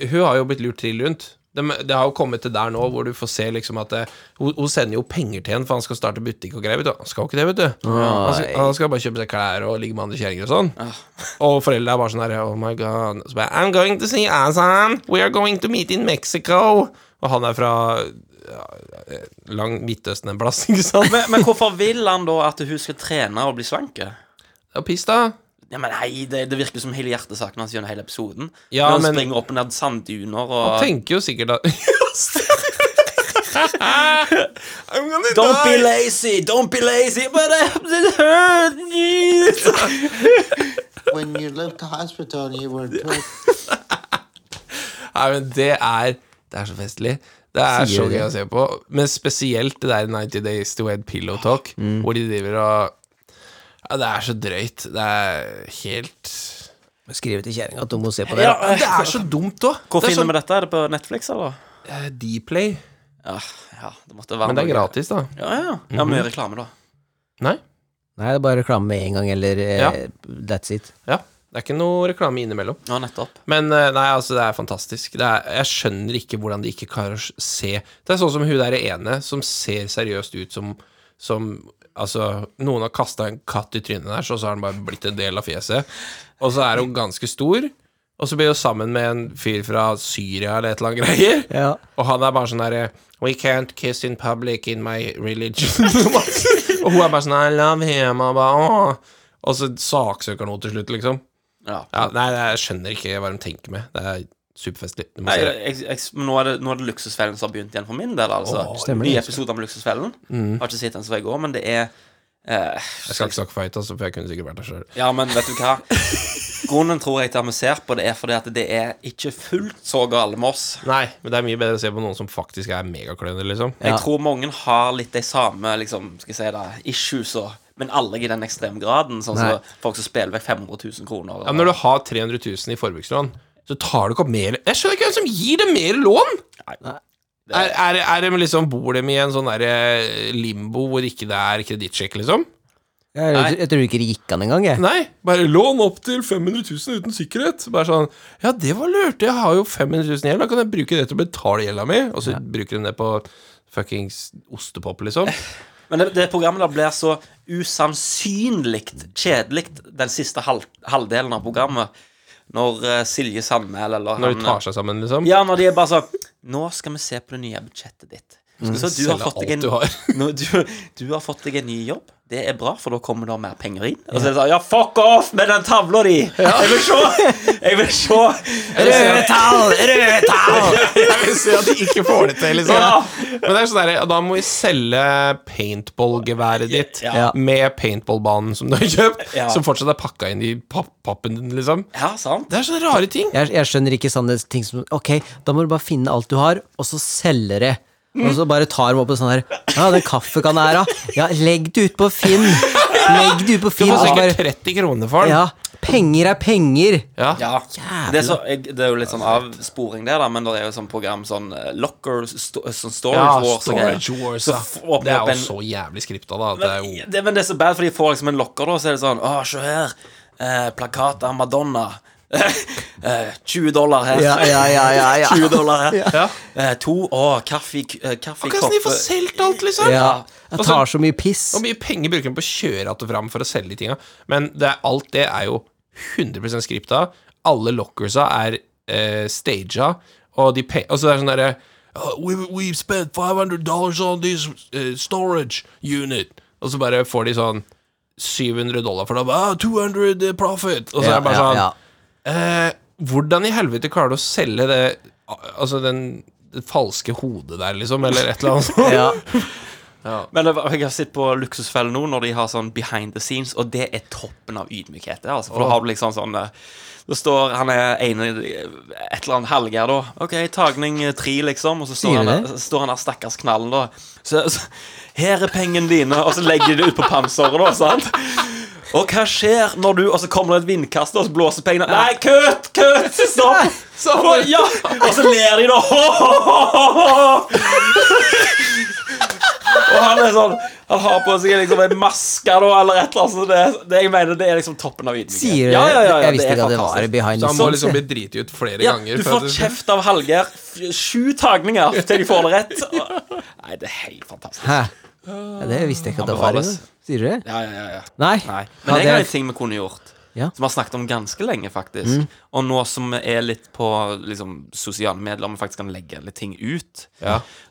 Speaker 4: Hun har jo blitt lurt trill rundt. Det, det har jo kommet til der nå hvor du får se liksom at det, hun, hun sender jo penger til en for han skal starte butikk og greier. vet du. Han skal jo ikke det, vet du. Han skal, han skal bare kjøpe seg klær og ligge med andre kjerringer og sånn. Og foreldra er bare sånn her Oh my god. Så bare, I'm going to see Asan. We are going to meet in Mexico. Og han er fra ja, lang Midtøsten en plass, ikke sant?
Speaker 1: men, men hvorfor vil han da at hun skal trene og bli slanke?
Speaker 4: Og piss, da.
Speaker 1: Ja, men hei, det, det virker som hele hjertesaken hans gjennom hele episoden.
Speaker 4: Ja,
Speaker 1: Når han
Speaker 4: men-
Speaker 1: springer opp og ned sandduner
Speaker 4: Han
Speaker 1: og
Speaker 4: tenker jo sikkert at I'm gonna
Speaker 1: Don't be
Speaker 4: die.
Speaker 1: lazy, don't be lazy, but it hurts.
Speaker 5: When you left the hospital, you were told
Speaker 4: Nei, men det er Det er så festlig. Det er
Speaker 3: Sier
Speaker 4: så
Speaker 3: det.
Speaker 4: gøy å se på. Men spesielt det der 90 Days to Head Pillow Talk, hvor de driver og ja, Det er så drøyt. Det er helt
Speaker 3: Skrive til kjerringa at hun må se på det.
Speaker 1: Ja,
Speaker 3: da.
Speaker 1: eh,
Speaker 4: Det er så dumt òg.
Speaker 1: Hvor finner vi dette? Er det på Netflix, eller?
Speaker 4: Dplay.
Speaker 1: Ja, ja det måtte være
Speaker 4: Men det er
Speaker 1: noe.
Speaker 4: gratis, Mhm. da.
Speaker 1: Ja, ja. ja mye reklame, da.
Speaker 4: Nei?
Speaker 3: Nei, det er bare reklame med en gang, eller eh,
Speaker 4: Ja.
Speaker 3: that's it.
Speaker 4: Ja. Det er ikke noe reklame innimellom.
Speaker 1: Ja, nettopp.
Speaker 4: Men eh, nei, altså, det er fantastisk. Det er, jeg skjønner ikke hvordan de ikke klarer å s- se Det er sånn som hun der ene som ser seriøst ut som, som Altså, noen har kasta en katt i trynet der, så så har den bare blitt en del av fjeset. Og så er hun ganske stor, og så blir hun sammen med en fyr fra Syria eller et eller annet greier.
Speaker 3: Ja.
Speaker 4: Og han er bare sånn derre We can't kiss in public in my religion. og hun er bare sånn I love him. Og, bare, Åh. og så saksøker han henne til slutt, liksom.
Speaker 1: Ja.
Speaker 4: Ja, nei, nei, jeg skjønner ikke hva de tenker med. Det er superfestlig. Du må
Speaker 1: Nei,
Speaker 4: se det.
Speaker 1: jeg, jeg, men nå, er det, nå er det Luksusfellen som har begynt igjen for min del, altså.
Speaker 3: stemmer det. Mm.
Speaker 1: Nye episoder med Luksusfellen. Har ikke sett den som jeg går, men det er eh,
Speaker 4: Jeg skal ikke snakke for høyt, altså, for jeg kunne sikkert vært der sjøl.
Speaker 1: Ja, men vet du hva? Grunnen tror jeg til at vi ser på det, er fordi at det er ikke fullt så gale med oss.
Speaker 4: Nei, men det er mye bedre å se på noen som faktisk er megakløner, liksom.
Speaker 1: Jeg tror mange har litt de samme liksom, skal jeg si det, issues, og, men alle i den ekstreme graden. Sånn som
Speaker 3: Nei.
Speaker 1: folk som spiller vekk 500 000 kroner.
Speaker 4: Ja, men når du har 300 000 i forbrukslån, så tar du ikke opp mer Jeg skjønner ikke hvem som gir dem mer lån! Er, er, er de liksom, Bor de i en sånn derre limbo hvor ikke det er kredittsjekk, liksom?
Speaker 3: Jeg, jeg, tror ikke det gikk an engang, jeg.
Speaker 4: Nei, bare lån opp til 500 000 uten sikkerhet. Bare sånn Ja, det var lurt. Jeg har jo 500 000 gjeld. Da kan jeg bruke det til å betale gjelda mi. Og så bruker de det på fuckings ostepop, liksom.
Speaker 1: Men det, det programmet der blir så usannsynlig kjedelig den siste halv, halvdelen av programmet. Når eh, Silje Sandmæl eller
Speaker 4: Når
Speaker 1: han-
Speaker 4: de tar seg sammen, liksom.
Speaker 1: Ja, når de er bare sånn Nå skal vi se på det nye budsjettet ditt. Så du har,
Speaker 4: Mm. Selge
Speaker 1: fått deg
Speaker 4: alt
Speaker 1: en,
Speaker 4: du har.
Speaker 1: nå, du, du har fått deg en ny jobb. Det er bra, for da kommer det mer penger inn. Og så er det sånn Ja, fuck off med den tavla di! Jeg vil se! Jeg vil se! Jeg vil se.
Speaker 3: tall! Røde tall!
Speaker 4: Jeg vil se at de ikke får det til, liksom.
Speaker 1: Ja.
Speaker 4: Men det er sånn der, ja, da må vi selge paintballgeværet ditt
Speaker 1: Ja.
Speaker 4: med paintballbanen som du har kjøpt,
Speaker 1: Ja.
Speaker 4: som fortsatt er pakka inn i papp pappen din, liksom.
Speaker 1: Ja, sant?
Speaker 4: Det er sånne rare ting.
Speaker 3: Jeg, jeg skjønner ikke sånne ting som Ok, da må du bare finne alt du har, og så selge det. Og så bare tar de opp en sånn her Ja, den kaffekanna her, da. Ja, legg det ut på Finn. Legg det ut på
Speaker 4: Du
Speaker 3: Finn.
Speaker 4: får
Speaker 3: Og så
Speaker 4: sikkert
Speaker 3: bare
Speaker 4: 30 kroner for den.
Speaker 3: Ja, penger er penger.
Speaker 4: Ja.
Speaker 1: Ja. Det er, så, jeg, det er jo litt sånn avsporing, det, da, men det er jo sånn program sånn eh, Locker, sto, sånn Storage
Speaker 4: Ja,
Speaker 1: Wars og greier.
Speaker 4: Storage Wars,
Speaker 1: Så
Speaker 4: ja.
Speaker 1: f- åpner
Speaker 4: Det er
Speaker 1: opp
Speaker 4: jo
Speaker 1: en-
Speaker 4: så jævlig skripta, da. at Det er jo
Speaker 1: Men, det, men det er så bad, for de får liksom en lokker, da, så er det sånn Å, se her. Eh, plakat av Madonna. eh, 20 dollar her.
Speaker 3: Ja, ja, ja, ja, ja.
Speaker 1: 20 dollar her.
Speaker 4: Ja.
Speaker 1: Eh, to Å, kaffe, eh,
Speaker 4: Akkurat som de får
Speaker 1: kaffekopp
Speaker 4: solgt alt, liksom!
Speaker 3: Ja,
Speaker 4: Og
Speaker 3: jeg
Speaker 4: så-
Speaker 3: tar så mye piss.
Speaker 4: Hvor mye penger bruker de på å kjøre att og fram for å selge de tinga? Men det er, alt det er jo 100 skripta. Alle lockersa er eh, staged, og de pe- Og så er det sånn derre «Oh, we, We've spent 500 dollars on this eh, storage unit. Og så bare får de sånn 700 dollar for det. Ah, 200 profit! Og så er det bare sånn
Speaker 3: ja,
Speaker 4: Eh, hvordan i helvete klarer du å selge det al- Altså den det falske hodet der, liksom, eller et eller annet sånt?
Speaker 3: ja.
Speaker 1: Men det var- jeg har sett på Luksusfellen nå, når de har sånn behind the scenes, og det er toppen av ydmykhet. det, Altså, for da har du liksom sånn eh, Det står Han er ene et eller annet Hallgeir, da. OK, tagning eh, tre, liksom. Og så står
Speaker 3: Sier
Speaker 1: han,
Speaker 3: de det?
Speaker 1: der- så står han der, stakkars knallen, da. Så, så Her er pengene dine, og så legger de det ut på panseret, da. sant? Og hva skjer når du Og så kommer det et vindkast, og så blåser pengene Nei, kutt! Kutt! Stopp! Stopp! Ja! Og så ler de, da. Ho, ho, ho, ho, ho. Og han er sånn Han har på seg liksom en maske da, eller et eller annet. Så det, det, jeg mener, det er liksom toppen av ydmykhet.
Speaker 3: Sier du
Speaker 1: ja, ja, ja, ja,
Speaker 3: Jeg visste
Speaker 1: er
Speaker 3: ikke at det var
Speaker 1: fantastisk.
Speaker 3: behind
Speaker 4: Så
Speaker 3: the
Speaker 4: han må
Speaker 3: scenes.
Speaker 4: liksom
Speaker 3: jeg.
Speaker 4: bli driti ut flere
Speaker 1: ja,
Speaker 4: ganger.
Speaker 1: Du
Speaker 4: for at
Speaker 1: får kjeft av Hallgeir. F- Sju tagninger til de får det rett. Og- Nei, det er helt fantastisk.
Speaker 3: Hæ? Ja, det visste jeg ikke at det var.
Speaker 1: Anbefales.
Speaker 3: Sier du det?
Speaker 1: Ja, ja, ja, ja.
Speaker 3: Nei.
Speaker 1: Nei. Men
Speaker 3: Ja,
Speaker 1: jeg har
Speaker 3: det
Speaker 1: en
Speaker 3: er-
Speaker 1: ting vi kunne gjort.
Speaker 3: Ja.
Speaker 1: Som vi har snakket om ganske lenge, faktisk. Og nå som vi er litt på liksom, sosiale medier, og vi faktisk kan legge litt ting ut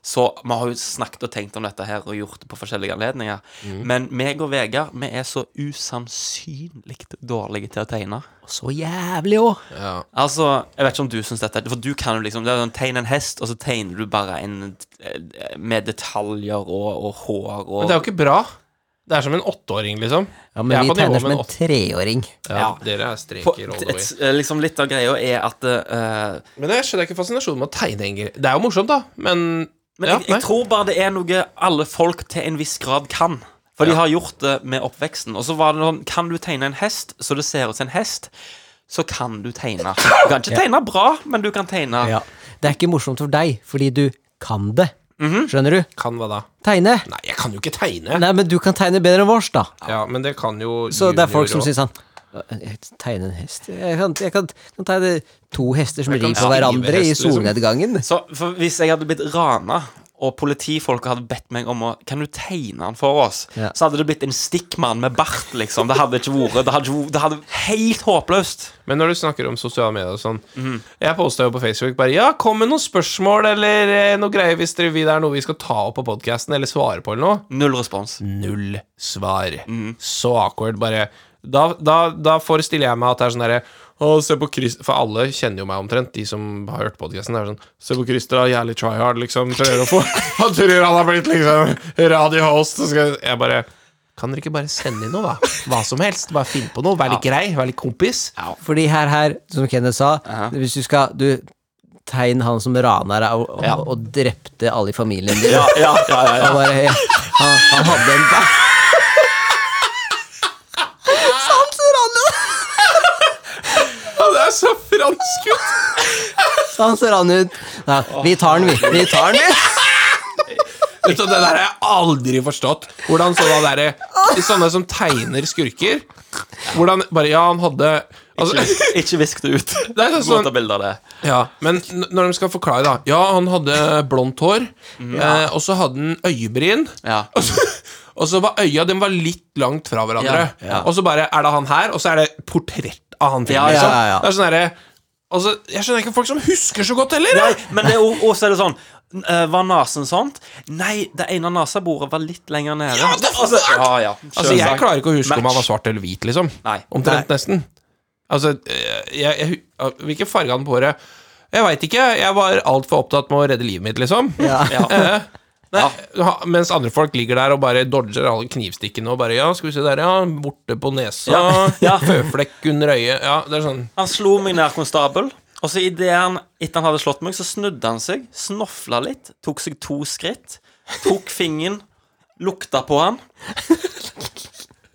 Speaker 1: Så vi har jo snakket og tenkt om dette her og gjort det på forskjellige anledninger. Men meg og Vegard vi er så usannsynlig dårlige til å tegne.
Speaker 3: Så jævlig òg!
Speaker 1: Altså, jeg vet ikke om du syns dette For du kan jo liksom det er sånn, tegne en hest, og så tegner du bare en eh, med detaljer og, og hår og
Speaker 4: Men det er jo ikke bra. Det er som en åtteåring, liksom.
Speaker 3: Ja,
Speaker 4: Jeg
Speaker 3: men
Speaker 4: er
Speaker 3: vi
Speaker 4: på nivå
Speaker 3: tegner som
Speaker 4: med
Speaker 3: en treåring.
Speaker 4: Ja, Dere er
Speaker 1: på,
Speaker 4: streker all the way.
Speaker 1: et, liksom Litt av greia er at eh,
Speaker 4: Men jeg skjønner ikke fascinasjonen med å tegne en gre- Det er jo morsomt, da, men,
Speaker 1: Men
Speaker 4: ja,
Speaker 1: jeg, jeg
Speaker 4: nei.
Speaker 1: tror bare det er noe alle folk til en viss grad kan. For de har gjort det med oppveksten. Og så var det sånn Kan du tegne en hest så det ser ut som en hest, så kan du tegne. Du kan ikke tegne bra, men du kan tegne.
Speaker 3: Ja. Det er ikke morsomt for deg, fordi du kan det. Skjønner du?
Speaker 4: Kan hva da?
Speaker 3: Tegne.
Speaker 4: Mhm. Nei, jeg kan jo ikke tegne.
Speaker 3: Nei, men du kan tegne bedre enn vårs, da.
Speaker 4: Ja, men det kan jo
Speaker 3: Så det er folk som
Speaker 4: junior
Speaker 3: syns han jeg tegner en hest Jeg kan, jeg kan, kan tegne to hester som
Speaker 4: Jeg kan
Speaker 3: rir på
Speaker 4: skrive
Speaker 3: hverandre i
Speaker 4: hest, liksom.
Speaker 3: solnedgangen.
Speaker 1: Så for hvis jeg hadde blitt rana, og politifolk hadde bedt meg om å Kan du tegne den for oss?
Speaker 3: Ja.
Speaker 1: Så hadde det blitt en stikkmann med bart, liksom. Det hadde ikke vært Det hadde, det hadde helt håpløst.
Speaker 4: og- Men når du snakker om sosiale medier og sånn Jeg posta jo på Facebook bare Ja, kom med noen spørsmål eller eh, noe greier hvis dere vil det er noe vi skal ta opp på podkasten eller svare på eller noe.
Speaker 1: Null respons.
Speaker 4: null svar. Så awkward, bare. Da, da, da forestiller jeg meg at det er sånn derre å, se på Christer For alle kjenner jo meg omtrent, de som har hørt podkasten. Sånn, se på Christer, da. Jævlig try hard, liksom. Prøver å få Han tror han har blitt liksom radiohost. og skal- Jeg bare Kan dere ikke bare sende inn noe, da? Hva som helst. Bare finn på noe. Vær litt grei. Vær litt kompis.
Speaker 3: Fordi her, her, som Kenneth sa, hvis du skal Du tegn han som raner og, og, og drepte alle i familien din. Han, bare, ja, han, han hadde en bæ...
Speaker 4: Ja, det er så fransk ut!
Speaker 3: Han ser han ut. Ja, vi tar den, vi. Vi tar den, vi.
Speaker 4: Vet du, det der har jeg aldri forstått. Hvordan sånne, der, sånne som tegner skurker Hvordan Bare ja, han hadde altså,
Speaker 1: Ikke visk det ut.
Speaker 4: Det er sånn-
Speaker 1: Må ta bilde av det.
Speaker 4: Ja, Men n- når de skal forklare, da Ja, han hadde blondt hår, eh, og så hadde han øyebryn.
Speaker 1: Mhm. Ja.
Speaker 4: Og så, og så var øya den var litt langt fra hverandre.
Speaker 1: Ja, ja.
Speaker 4: Og så bare er det han her, og så er det portrett av han fyren.
Speaker 1: Ja, ja,
Speaker 4: liksom.
Speaker 3: ja, ja.
Speaker 4: Det er sånn derre Altså, Jeg skjønner ikke folk som husker så godt heller!
Speaker 1: Nei, men det er jo- også er det sånn eh, Var nesen sånt? Nei, det ene nasabordet var litt lenger nede.
Speaker 4: Ja, det er
Speaker 1: altså,
Speaker 4: sant!
Speaker 1: ja, ja.
Speaker 4: Altså, Jeg klarer ikke å huske om
Speaker 1: Match.
Speaker 4: han var svart eller hvit, liksom.
Speaker 1: Nei.
Speaker 4: Omtrent nesten. Altså, eh, jeg, jeg, hu- Hvilken farge han på håret? Jeg veit ikke. Jeg var altfor opptatt med å redde livet mitt, liksom.
Speaker 1: Ja.
Speaker 4: Eh, Nei, ha- Mens andre folk ligger der og bare dodger alle knivstikkene og bare Ja, skal vi se der, ja. Borte på nesa.
Speaker 1: Ja, ja.
Speaker 4: Føflekk under øyet. Ja, det er sånn.
Speaker 1: Han slo meg nær konstabel, og så idet han etter han hadde slått meg, så snudde han seg, snofla litt, tok seg to skritt, tok fingeren, lukta på han,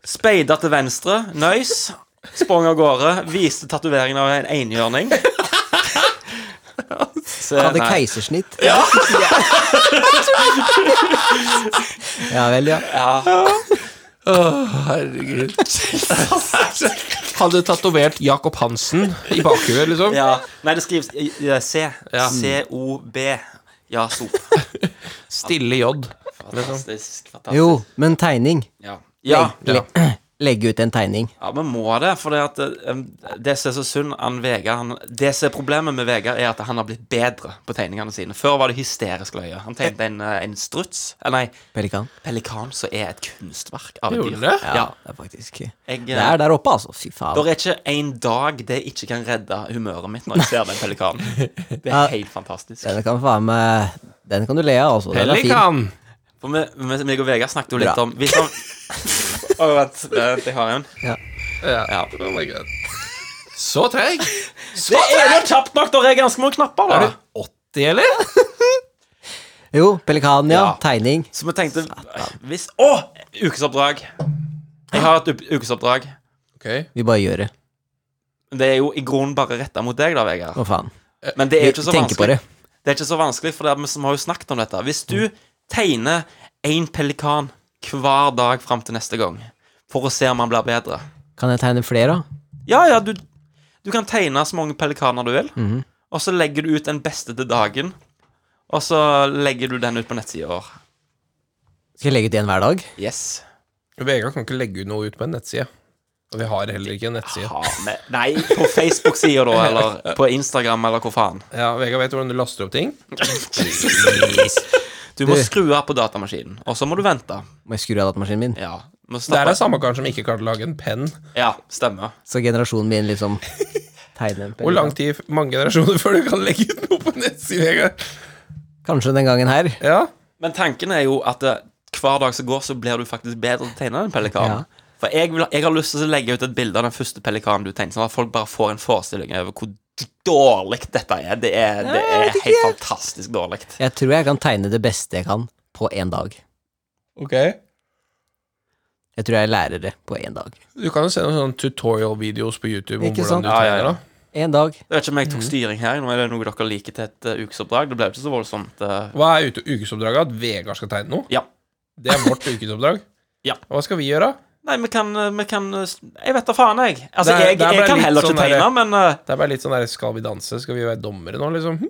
Speaker 1: speida til venstre, nøys, sprang av gårde, viste tatoveringen av en enhjørning. Så,
Speaker 3: Han hadde
Speaker 1: nei.
Speaker 3: keisersnitt. Ja. ja vel, ja.
Speaker 4: Herregud. Hadde tatovert Jakob Hansen i bakhuet, liksom.
Speaker 1: Ja. Nei, det skrives i- i- C. C-O-B. Ja, sop.
Speaker 4: Stille J.
Speaker 1: Fantastisk. fantastisk.
Speaker 3: Jo, men tegning.
Speaker 1: Ja. Ja,
Speaker 3: Le, legge ut en tegning.
Speaker 1: ja, vi må det. For det, at, eh, det som er så synd han Vegard han, Det som er problemet med Vegard, er at han har blitt bedre på tegningene sine. Før var det hysterisk løye. Han tegnte en, eh, en struts. eh, Nei,
Speaker 3: Pelikan.
Speaker 1: pelikan, som er et kunstverk av et
Speaker 4: Gjorde
Speaker 1: dyr.
Speaker 4: det?
Speaker 1: Ja.
Speaker 3: Ja, det er faktisk
Speaker 1: Jeg, eh,
Speaker 3: Det er der oppe, altså. Fy
Speaker 1: Det
Speaker 3: faen.
Speaker 1: er ikke en dag det ikke kan redde humøret mitt når jeg ser den pelikanen. Det er
Speaker 3: Ja.
Speaker 1: helt fantastisk.
Speaker 3: Den kan faen meg Den kan du le av, altså. Den er fin.
Speaker 4: Pelikan.
Speaker 1: For For vi, vi, meg og Vegard snakket jo litt
Speaker 3: Bra.
Speaker 1: om hvis han, Å, vent, vent, jeg har en.
Speaker 4: Ja. Oh my God. Så treig!
Speaker 1: Det er jo kjapt nok! Det er ganske mange knapper. da
Speaker 4: Er du 80, eller?
Speaker 3: Jo, pelikan, ja.
Speaker 1: Ja.
Speaker 3: Tegning.
Speaker 1: Så vi tenkte hvis, Å! Ukesoppdrag. Jeg har et u- ukesoppdrag.
Speaker 4: Ok
Speaker 3: Vi bare gjør det.
Speaker 1: Det er jo i grunnen bare retta mot deg, da, Vegard.
Speaker 3: Å, faen.
Speaker 1: Men det er jo
Speaker 3: Vi
Speaker 1: ikke så
Speaker 3: tenker på
Speaker 1: vanskelig.
Speaker 3: det.
Speaker 1: Det er ikke så vanskelig, for det er, vi som har jo snakket om dette. Hvis du tegner én pelikan hver dag fram til neste gang, for å se om han blir bedre
Speaker 3: Kan jeg tegne flere, da?
Speaker 1: Ja, ja, du, du kan tegne så mange pelikaner du vil,
Speaker 4: Mhm.
Speaker 1: og så legger du ut den beste til dagen, og så legger du den ut på nettsida vår.
Speaker 3: Skal jeg legge ut en hver dag?
Speaker 1: Yes.
Speaker 4: Vegard kan ikke legge noe ut på en nettside. Og vi har heller ikke en nettside.
Speaker 1: Ha med Nei, på Facebook-sida, da, eller på Instagram, eller hvor faen.
Speaker 4: Ja, Vegard vet hvordan du laster opp ting.
Speaker 1: Du må
Speaker 3: Du-
Speaker 1: skru av på datamaskinen, og så må du vente.
Speaker 3: Må jeg skru av datamaskinen min?
Speaker 1: Ja. Må
Speaker 4: Det er
Speaker 1: stoppe.
Speaker 4: den samme karen som ikke klarte å lage en penn.
Speaker 1: Ja, stemmer.
Speaker 3: Så generasjonen min liksom tegner en
Speaker 4: Hvor
Speaker 3: pelikan.
Speaker 4: lang tid, mange generasjoner før du kan legge ut noe på en nettside, Vegard?
Speaker 3: Kanskje den gangen her.
Speaker 4: Ja.
Speaker 1: Men tanken er jo at eh, hver dag som går, så blir du faktisk bedre til å tegne den pelikanen.
Speaker 3: Ja.
Speaker 1: For jeg, vil, jeg har lyst til å legge ut et bilde av den første pelikanen du tegnet, sånn at folk bare får en forestilling over hvor dårlig dette er. Det er, det er helt fantastisk dårlig.
Speaker 3: Jeg tror jeg kan tegne det beste jeg kan på én dag.
Speaker 4: Ok.
Speaker 3: Jeg tror jeg lærer det på én dag.
Speaker 4: Du kan jo se noen sånne tutorial-videoer på YouTube om
Speaker 3: Ikke
Speaker 4: hvordan du
Speaker 3: sant?
Speaker 1: Ja, ja,
Speaker 4: tegner.
Speaker 1: ja.
Speaker 4: da
Speaker 3: En dag.
Speaker 1: Jeg vet ikke om
Speaker 4: Mm.
Speaker 1: jeg tok styring her. Nå er det noe dere liker til et eh, ukesoppdrag. Det ble jo ikke så voldsomt. eh,
Speaker 4: Hva er ute- ukesoppdraget? At Vegard skal tegne noe?
Speaker 1: Ja.
Speaker 4: Det er vårt ukesoppdrag.
Speaker 1: Ja.
Speaker 4: Hva skal vi gjøre?
Speaker 1: Nei, vi kan, eh, vi kan eh, s- Jeg vet da faen, jeg. Altså,
Speaker 4: Der-
Speaker 1: jeg,
Speaker 4: der ble
Speaker 1: jeg kan
Speaker 4: litt
Speaker 1: heller
Speaker 4: sånn
Speaker 1: ikke
Speaker 4: der-
Speaker 1: tegne, men eh,
Speaker 4: Det er bare litt sånn der, Skal vi danse? Skal vi være dommere nå, liksom?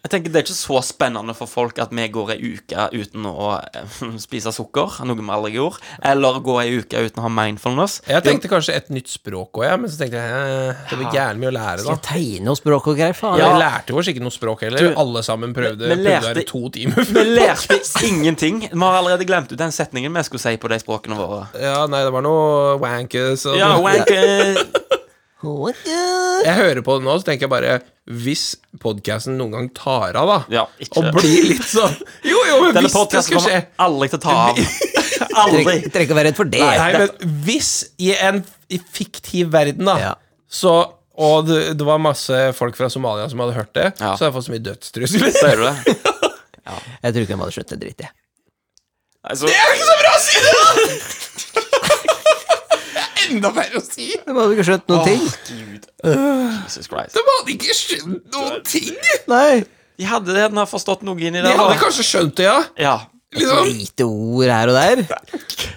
Speaker 1: Jeg tenker Det er ikke så spennende for folk at vi går ei uke uten å eh, spise sukker, noe vi aldri gjorde, eller gå ei uke uten å ha mindfulness.
Speaker 4: Jeg tenkte kanskje et nytt språk òg, jeg, men så tenkte jeg eh, det blir gjerne mye å lære,
Speaker 3: Skal
Speaker 4: da.
Speaker 3: jeg tegne og språk og greier? Faen.
Speaker 4: Vi
Speaker 1: Ja.
Speaker 4: lærte jo oss ikke noe språk heller.
Speaker 1: Du,
Speaker 4: Alle sammen prøvde
Speaker 1: vi- vi lærte-
Speaker 4: prøvde her i to timer.
Speaker 1: Vi lærte ingenting. Vi har allerede glemt ut den setningen vi skulle si på de språkene våre.
Speaker 4: Ja, nei, det var noe wankers og
Speaker 1: Ja,
Speaker 4: noe-
Speaker 1: wank eh,
Speaker 4: Jeg hører på det nå, så tenker jeg bare Hvis podkasten noen gang tar av, da,
Speaker 1: Ja, ikke
Speaker 4: og blir litt sånn Jo, jo, men
Speaker 1: Denne
Speaker 4: hvis det
Speaker 1: podkasten
Speaker 4: skulle skje
Speaker 1: kommer aldri til å ta av. Aldri.
Speaker 3: Trenger trenger ikke å være redd for det.
Speaker 4: Nei, men hvis i en i fiktiv verden, da,
Speaker 3: Ja.
Speaker 4: så Og det, det var masse folk fra Somalia som hadde hørt det,
Speaker 1: Ja.
Speaker 4: så hadde jeg fått så mye dødstrusler.
Speaker 1: Ser du det?
Speaker 3: Jeg tror ikke de hadde skjønt en dritt, jeg.
Speaker 1: Altså,
Speaker 4: Enda verre å si!
Speaker 3: De hadde ikke skjønt noen ting.
Speaker 1: Jesus Christ.
Speaker 4: De hadde ikke skjønt noen ting!
Speaker 3: Nei.
Speaker 1: De hadde den har forstått noe inni
Speaker 4: De
Speaker 1: der.
Speaker 4: hadde
Speaker 1: da.
Speaker 4: kanskje skjønt det, ja.
Speaker 1: Ja.
Speaker 4: Liksom.
Speaker 3: Lite ord her og der.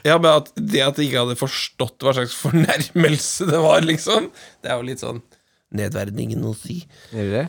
Speaker 4: Ja, men at Det at de ikke hadde forstått hva slags fornærmelse det var, liksom, det er jo litt sånn nedverdningen å si.
Speaker 3: Gjør du det?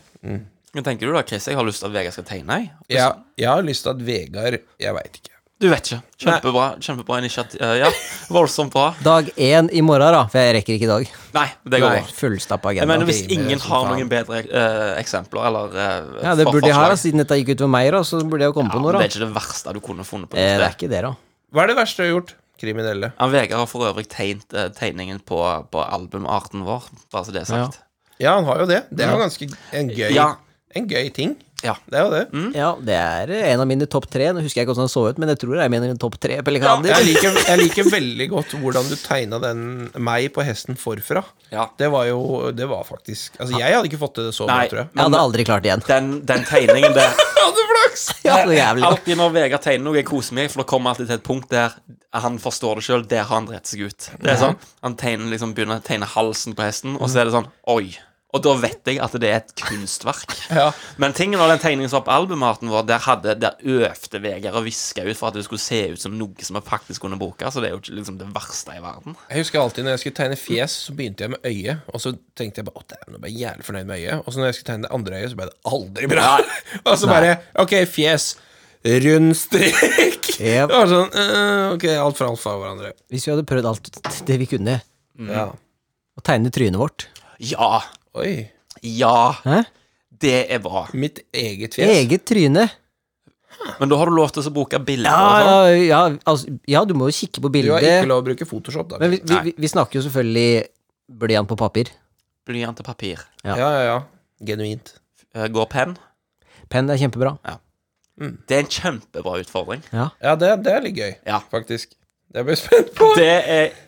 Speaker 1: Men tenker du da, Chris, jeg har lyst til at Vegard skal tegne? jeg.
Speaker 4: Ja, jeg har lyst til at Vegard Jeg veit ikke.
Speaker 1: Du vet ikke. Kjempebra. Kjempebra initiativ. eh, Ja, voldsomt bra.
Speaker 3: Dag én i morgen, da. For jeg rekker ikke i dag.
Speaker 1: Nei, det går
Speaker 3: Nei,
Speaker 1: bra.
Speaker 3: Fullstappa
Speaker 1: Jeg
Speaker 3: agenda. sånn,
Speaker 1: mener Hvis
Speaker 4: timer,
Speaker 1: ingen
Speaker 4: som
Speaker 1: har
Speaker 4: faen.
Speaker 1: noen bedre eh, eksempler eller eh,
Speaker 3: Ja, det
Speaker 1: for-
Speaker 3: burde jeg ha,
Speaker 1: forslag.
Speaker 3: da, siden dette gikk ut for meg, da. Så burde jeg jo komme
Speaker 1: Ja,
Speaker 3: på
Speaker 1: men
Speaker 3: noe,
Speaker 1: det er
Speaker 3: da.
Speaker 1: ikke det verste du kunne funnet på.
Speaker 3: Eh, det er
Speaker 1: Det.
Speaker 3: ikke det, da.
Speaker 4: Hva er det verste du har gjort? Kriminelle.
Speaker 1: Ja, Vegard har for øvrig tegnet eh, tegningen på, på albumarten vår, bare så det er sagt.
Speaker 4: Ja, han har jo det. Det er jo ganske en gøy,
Speaker 1: Ja.
Speaker 4: en gøy ting.
Speaker 1: Ja.
Speaker 4: Det er jo det.
Speaker 3: Ja, det er eh, en av mine topp tre. Nå husker jeg ikke hvordan han så ut, men jeg tror jeg mener en topp tre pelikaner.
Speaker 4: Jeg liker, jeg liker veldig godt hvordan du tegna den meg på hesten forfra.
Speaker 1: Ja.
Speaker 4: Det var jo Det var faktisk Altså, jeg hadde ikke fått til det så bra,
Speaker 1: Nei.
Speaker 4: tror jeg.
Speaker 3: Jeg hadde aldri klart det igjen.
Speaker 1: Den, den tegningen der
Speaker 4: Hadde flaks!
Speaker 3: Ja, så jævlig.
Speaker 1: Alltid når Vegard tegner noe, jeg koser meg, for det kommer alltid til et punkt der han forstår det sjøl, der har han drept seg ut. Det er sånn Han tegner, liksom, begynner å tegne halsen på hesten, og så er det sånn Oi. Og da vet jeg at det er et kunstverk.
Speaker 4: Ja.
Speaker 1: Men tingen var den tegningen som var på albumarten vår, der, hadde, der øvde Vegard og viska ut for at det skulle se ut som noe som jeg faktisk kunne bruke. Så det er jo ikke liksom det verste i verden.
Speaker 4: Jeg husker alltid når jeg skulle tegne fjes, så begynte jeg med øyet. Og så tenkte jeg bare at jeg ble jeg jævlig fornøyd med øyet. Og så når jeg skulle tegne det andre øyet, så ble det aldri bra. og så bare Ok, fjes. Rund strek.
Speaker 3: Yep.
Speaker 4: Det var sånn eh, Ok, alt fra alt fra hverandre.
Speaker 3: Hvis vi hadde prøvd alt det vi kunne,
Speaker 4: Ja.
Speaker 3: å tegne trynet vårt
Speaker 1: Ja.
Speaker 4: Oi.
Speaker 1: Ja.
Speaker 3: Hæ?
Speaker 1: Det er bra.
Speaker 4: Mitt eget fjes.
Speaker 3: Eget tryne.
Speaker 1: Men da har du lov til å bruke bilder.
Speaker 3: Ja,
Speaker 1: og
Speaker 3: ja,
Speaker 1: sånn.
Speaker 3: ja, altså, ja, du må jo kikke på
Speaker 4: Du har ikke
Speaker 3: bildet.
Speaker 4: lov å bruke Photoshop, da.
Speaker 3: Men vi, vi, vi, vi snakker jo selvfølgelig blyant på papir.
Speaker 1: Blyant og papir.
Speaker 4: Ja, ja, ja. Genuint.
Speaker 1: Eh, Går penn?
Speaker 3: Penn er kjempebra.
Speaker 1: Ja. Det er en kjempebra utfordring.
Speaker 4: Ja, det, det er litt gøy,
Speaker 1: Ja.
Speaker 4: faktisk. Det blir jeg spent på.
Speaker 1: Det er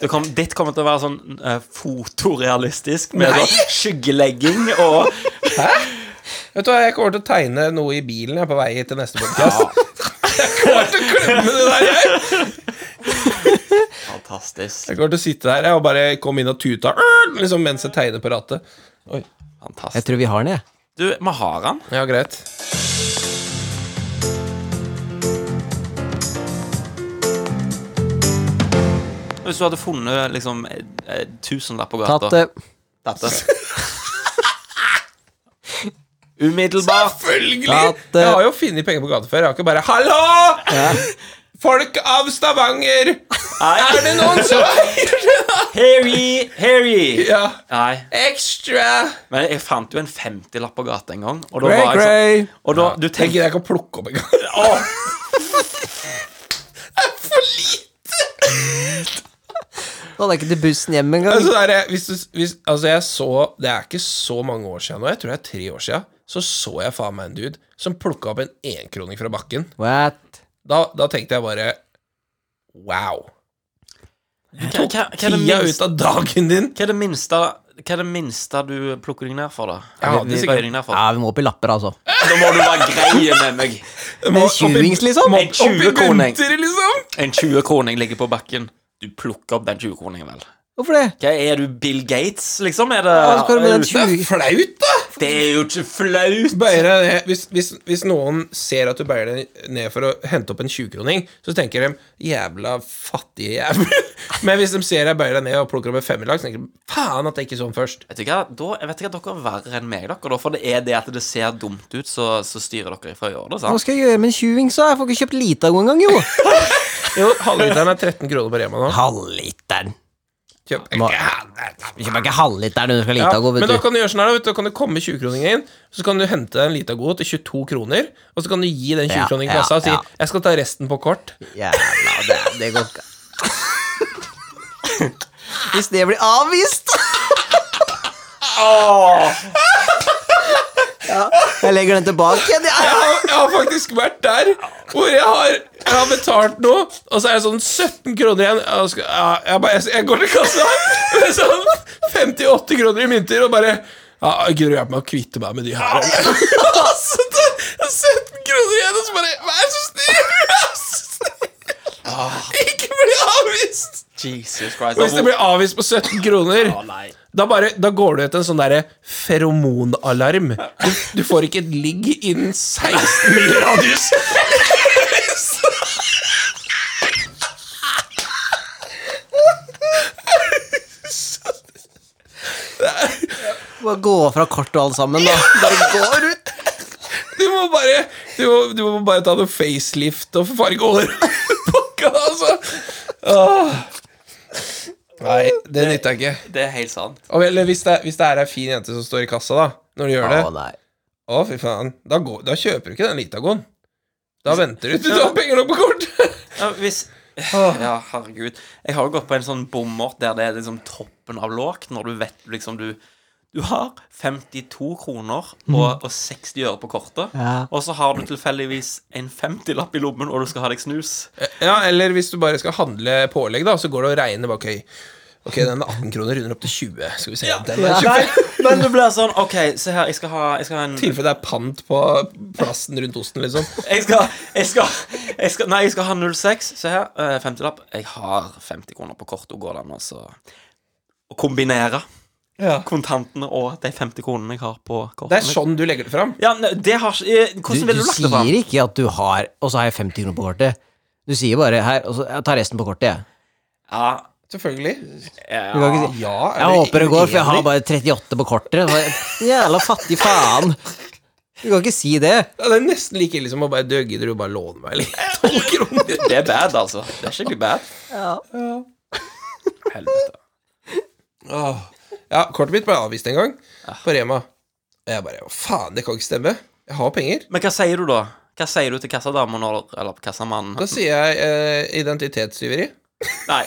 Speaker 1: det kom, Ditt kommer til å være sånn eh, fotorealistisk med sånn skyggelegging og
Speaker 4: Vet du hva, Jeg kommer til å tegne noe i bilen jeg er på vei hit til neste podkast. jeg kommer til å klemme det der, jeg!
Speaker 1: Fantastisk.
Speaker 4: Jeg kommer til å sitte der jeg, og bare komme inn og tute liksom, mens jeg tegner på rattet. Oi,
Speaker 3: Jeg
Speaker 1: Fantastisk.
Speaker 3: tror vi har den, jeg.
Speaker 1: Du, vi har han.
Speaker 4: ja, greit.
Speaker 1: Hvis du hadde funnet liksom en- en tusenlapp på gata
Speaker 3: Tatt eh, det.
Speaker 1: Dette. Umiddelbart.
Speaker 4: Følgelig!
Speaker 3: At, eh,
Speaker 4: jeg har jo funnet penger på gata før. Jeg har ikke bare 'Hallo! Folk av Stavanger! Er det noen som eier det?'
Speaker 1: Harry, Harry.
Speaker 4: Ja.
Speaker 1: Nei,
Speaker 4: Extra!
Speaker 1: men jeg fant jo en 50-lapp på gata en gang. Og da
Speaker 4: Grey,
Speaker 1: var jeg sånn
Speaker 4: grey.
Speaker 1: Og da, du
Speaker 4: Det
Speaker 1: tenker
Speaker 4: gidder jeg ikke å plukke opp engang. Det er for lite!
Speaker 3: Da hadde jeg ikke til bussen hjem engang.
Speaker 4: Altså, det er, hvis du, hvis, altså jeg så, det er ikke så mange år siden nå, jeg tror det er tre år siden, så så jeg faen meg en dude som plukka opp en enkroning fra bakken.
Speaker 3: What?
Speaker 4: Da, da tenkte jeg bare wow.
Speaker 1: hva, hva, hva, er det
Speaker 4: Tida ut
Speaker 1: minste,
Speaker 4: av dagen din!
Speaker 1: hva er det minste Hva er det minste du plukker deg ned for, da?
Speaker 4: Ja,
Speaker 1: Eller,
Speaker 4: det
Speaker 1: bøyer
Speaker 4: er sikkert-
Speaker 1: deg ned for?
Speaker 3: Ja, vi må opp i lapper, altså.
Speaker 1: Da må du være greie med meg.
Speaker 4: Må-
Speaker 3: En tjuvings, liksom?
Speaker 1: En 20-kroning.
Speaker 4: Gunther, liksom!
Speaker 1: En 20-kroning ligger på bakken. Du plukker opp den 20-kroningen, vel.
Speaker 3: Hvorfor det?
Speaker 1: Hva Er du Bill Gates, liksom? Er det,
Speaker 3: Hva skal du med den
Speaker 4: Det er
Speaker 3: 20
Speaker 4: flaut, da!
Speaker 1: det er jo ikke flaut!
Speaker 4: Bøyer deg ned. eh, Hvis, hvis, hvis noen ser at du bøyer deg ned for å hente opp en 20-kroning, så tenker de 'jævla fattige jævel'. Men hvis de ser deg bøyer deg ned og plukker opp en femmerlaks, tenker de 'faen at jeg ikke så den først'.
Speaker 1: Vet du hva, da, jeg vet ikke at dere er verre enn meg, dere. da, For det er det at det ser dumt ut, så, så styrer dere ifra å gjøre det.
Speaker 3: Hva
Speaker 1: sant?
Speaker 3: skal jeg gjøre med en tjuvings, da? Jeg får ikke kjøpt Litago engang, jo.
Speaker 4: Jo, halvliteren er 13 kroner på Rema nå.
Speaker 3: Halvliteren.
Speaker 4: Kjøp.
Speaker 3: Må- Du kjøper ikke halvliteren når du skal ha
Speaker 4: Ja,
Speaker 3: Litago,
Speaker 4: men da
Speaker 3: vet du.
Speaker 4: kan du gjøre sånn her, da, vet du, da kan det komme 20-kroninger inn, så kan du hente deg en Litago til 22 kroner, og så kan du gi den 20-kroningen i
Speaker 3: Ja,
Speaker 4: kassa og si
Speaker 3: ja, ja.
Speaker 4: 'jeg skal ta resten på kort'.
Speaker 3: Jævla, det, det går ikke. Hvis det blir avvist ja, Jeg legger den tilbake igjen,
Speaker 4: Jeg
Speaker 3: jeg.
Speaker 4: har, jeg har faktisk vært der hvor jeg har, jeg har betalt noe, og så er det sånn 17 kroner igjen. Jeg, skal, ja, jeg, bare, jeg går til kassa med sånn 58 kroner i mynter og bare ja, Gidder du hjelpe meg å kvitte meg med de her? eller? Og så tar jeg 17 kroner igjen, og så bare Vær så snill! vær så snill, Ikke bli avvist!
Speaker 1: Jesus Christ.
Speaker 4: Og hvis du blir avvist på 17 kroner
Speaker 1: Å, nei.
Speaker 4: da, bare, da går du ut en sånn derre feromonalarm. Du, du får ikke et ligg innen 16 mil radius.
Speaker 3: Bare gå fra kort og alt sammen, da. Bare går ut.
Speaker 4: Du må bare, du må, du må bare ta noe facelift og farge over pakka, altså. Åh. Nei, det nytter jeg ikke.
Speaker 1: Det er helt sant.
Speaker 4: Og vel, hvis, det, hvis det er ei en fin jente som står i kassa, da, når du gjør det
Speaker 3: Å, nei.
Speaker 4: Å, fy faen. Da, går, da kjøper du ikke den Litagoen. Da venter du til du har penger nok på kort.
Speaker 1: Ja, hvis Ja, herregud. Jeg har jo gått på en sånn bommert der det er liksom toppen av lågt, når du vet liksom du Du har 52 kroner og, og 60 øre på kortet,
Speaker 3: Ja.
Speaker 1: og så har du tilfeldigvis en 50-lapp i lommen, og du skal ha deg snus.
Speaker 4: Ja, eller hvis du bare skal handle pålegg, da, så går det og regner bak høy. Ok, den er 18 kroner, runder opp til 20. Skal vi se. Den er 25.
Speaker 1: Nei, men det blir sånn OK, se her, jeg skal ha, jeg skal ha en
Speaker 4: I tilfelle det er pant på plasten rundt osten, liksom.
Speaker 1: jeg skal, jeg skal, jeg skal Nei, jeg skal ha 06. Se her. eh, 50-lapp. Jeg har 50 kroner på kortet. og Går det an å så- å kombinere kontantene og de 50 kronene jeg har på kortet?
Speaker 4: Det er sånn du legger det fram.
Speaker 1: Ja, nei, det har ikke eh,
Speaker 3: Du,
Speaker 1: Hvordan
Speaker 3: du
Speaker 1: ville du lagt det fram?
Speaker 3: sier ikke at du har Og så har jeg 50 kroner på kortet. Du sier bare her, og så jeg tar resten på kortet, jeg.
Speaker 1: Ja,
Speaker 4: Selvfølgelig.
Speaker 3: Du kan ikke si
Speaker 4: Ja, er
Speaker 3: Jeg håper det går, for jeg har
Speaker 4: uenig?
Speaker 3: bare 38 på kortet. Så jeg- Jævla fattig faen. Du kan ikke si det.
Speaker 4: Ja, Det er nesten like ille som å bare Du gidder du bare låne meg litt? 12 kroner?
Speaker 1: Det er bad, altså. Det er skikkelig bad. Helvete.
Speaker 4: Åh. Ja, kortet mitt ble avvist en gang, på Rema. Og jeg bare Å, faen, det kan ikke stemme. Jeg har penger.
Speaker 1: Men hva sier du, da? Hva sier du til kassadama når Eller kassamannen?
Speaker 4: Da sier jeg eh, identitetstyveri.
Speaker 1: Nei.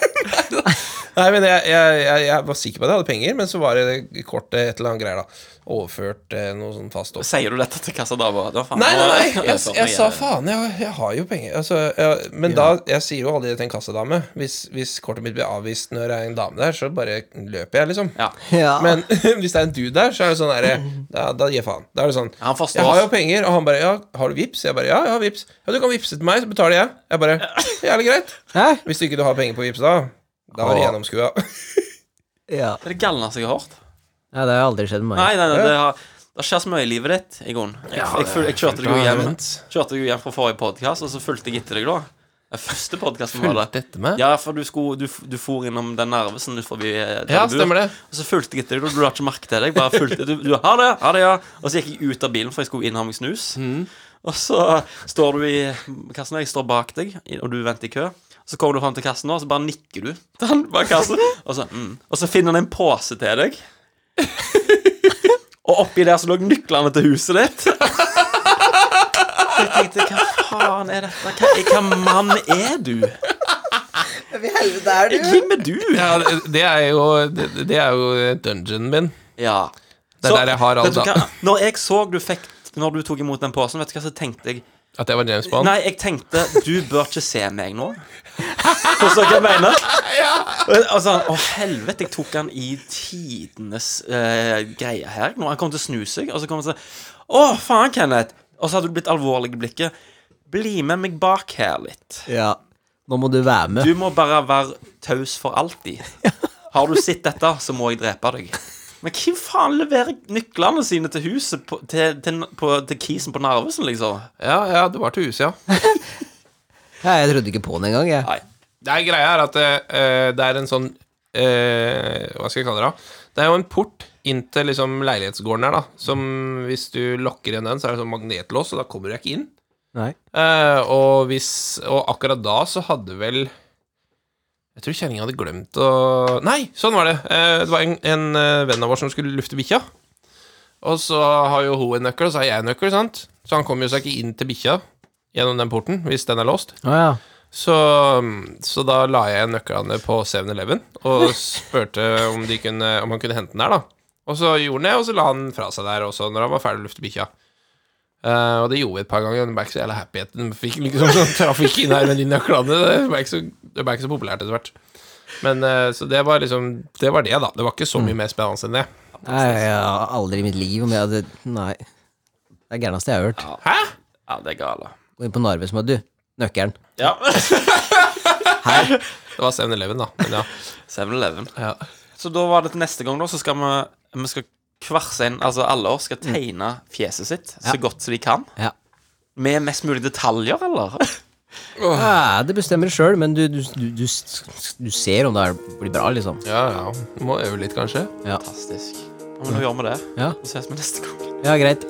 Speaker 4: Nei, men jeg, jeg, jeg, jeg var sikker på at jeg hadde penger, men så var det det kortet et eller annet greier, da. Overført eh, noe sånn fast opp.
Speaker 1: Sier du dette til kassadama? Det sånn var faen-
Speaker 4: Nei, nei, nei. Jeg, jeg,
Speaker 1: overført
Speaker 4: sa
Speaker 1: mye.
Speaker 4: faen, jeg, jeg har jo penger. Altså, jeg, men da Jeg sier jo aldri det til en kassadame. Hvis, hvis kortet mitt blir avvist når det er en dame der, så bare løper jeg, liksom.
Speaker 1: Ja.
Speaker 3: Ja.
Speaker 4: Men hvis det er en dude der, så er det sånn derre da, da gir jeg faen. Da er det sånn
Speaker 1: Han forstår.
Speaker 4: Jeg har jo penger, og han bare Ja, har du vips? Jeg bare Ja, jeg har vips. Ja, du kan vippse til meg, så betaler jeg. Jeg bare Jævlig greit.
Speaker 3: Hæ?
Speaker 4: Hvis du ikke du har penger på vips da, da har du
Speaker 3: Åh.
Speaker 4: gjennomskua.
Speaker 3: Ja.
Speaker 1: Det er det galneste jeg har hørt.
Speaker 3: ja, det har aldri skjedd med meg.
Speaker 1: Nei, nei, nei det, har, det skjer så mye i livet ditt, Egon. Jeg, jeg, jeg, jeg kjørte deg jo hjem Kjørte deg jo hjem fra forrige podkast, og så fulgte jeg etter deg da. Den første podkasten var det.
Speaker 4: dette med?
Speaker 1: Ja, for du, skulle, du, f- du for innom den nervesen ut forbi eh, der
Speaker 4: Ja,
Speaker 1: du bor.
Speaker 4: stemmer det.
Speaker 1: Og så fulgte jeg etter deg, og du la ikke merke til deg. Bare fulgte, du, du, ha det, ha det, ja Og så gikk jeg ut av bilen, for jeg skulle inn og ha meg snus. Og så står du i kassen, og jeg står bak deg, og du venter i kø. Så kommer du fram til kassen, nå, og så bare nikker du til han bak kassen. Og så, mm. og så finner han en pose til deg. Og oppi der så lå nøklene til huset ditt. Jeg tenkte, hva faen er dette? Hva, hva mann er du? Hvem er du?
Speaker 4: Ja, det- det er jo Det, det er jo dungeonen min.
Speaker 1: Ja.
Speaker 4: Det er der jeg har alle
Speaker 1: vet du hva?
Speaker 4: da-
Speaker 1: Når jeg så du fikk Når du tok imot den posen, vet du hva, så tenkte jeg
Speaker 4: At jeg var James Bond.
Speaker 1: Nei, jeg tenkte Du bør ikke se meg nå. Forstår du hva jeg mener? Og- Og sånn, Å, helvete, jeg tok han i tidenes eh, greie her. Nå, han kom til å snu seg, og så kom han sånn Å, faen, Kenneth. Og så hadde du blitt alvorlig i blikket. Bli med meg bak her litt.
Speaker 3: Ja. Nå må du være med.
Speaker 1: Du må bare være taus for alltid. Har du sett dette, så må jeg drepe deg. Men hvem faen leverer nøklene sine til huset på, til, til, på, til kisen på Narvesen, liksom?
Speaker 4: Ja, ja, det var til huset, ja.
Speaker 3: Ja, jeg trodde ikke på den engang. Jeg.
Speaker 1: Nei.
Speaker 4: Det er greia er at eh, det er en sånn eh, Hva skal jeg kalle det? da? Det er jo en port inn til liksom, leilighetsgården her, da. Som hvis du lokker igjen den, så er det sånn magnetlås, og da kommer du ikke inn.
Speaker 3: Nei.
Speaker 4: Eh, og, hvis, og akkurat da så hadde vel Jeg tror kjerringa hadde glemt å Nei, sånn var det. Eh, det var en, en eh, venn av oss som skulle lufte bikkja. Og så har jo hun en nøkkel, og så har jeg en nøkkel, sant? så han kommer jo seg ikke inn til bikkja gjennom den porten hvis den er låst.
Speaker 3: Å ja.
Speaker 4: Så, så da la jeg nøklene på 7-Eleven og spurte om, de kunne, om han kunne hente den der, da. Og så gjorde han det, og så la han den fra seg der også når han var ferdig å lufte bikkja. Eh, og det gjorde vi et par ganger. Den ble ikke så jævla happy. etter- Den fikk liksom sånn trafikk inn her med de nøklene. Det ble ikke så, det ble ikke så populært etter hvert. Men eh, Så det var liksom Det var det, da. Det var ikke så mye mer spennende enn det.
Speaker 3: Nei, jeg har aldri i mitt liv om jeg hadde Nei. Det er det gærneste jeg har hørt.
Speaker 4: Hæ?
Speaker 1: Ja, det er gale.
Speaker 3: Gå inn på Narvesen med du. Nøkkelen.
Speaker 1: Ja.
Speaker 4: Det var 7-Eleven, da. Men ja.
Speaker 1: 7-Eleven.
Speaker 4: ja.
Speaker 1: Så da var det til neste gang, da, så skal vi, vi skal hver sin Altså alle oss skal tegne fjeset sitt så godt som de kan.
Speaker 3: Ja.
Speaker 1: Med mest mulig detaljer, eller?
Speaker 3: Ja, det bestemmer du sjøl, men du, du, du, du, du ser om det er, blir bra, liksom.
Speaker 4: ja, ja. Må øve litt, kanskje.
Speaker 3: Ja,
Speaker 1: Fantastisk. Ja, men nå gjør vi det.
Speaker 3: ja.
Speaker 1: Så ses vi neste gang.
Speaker 3: ja greit.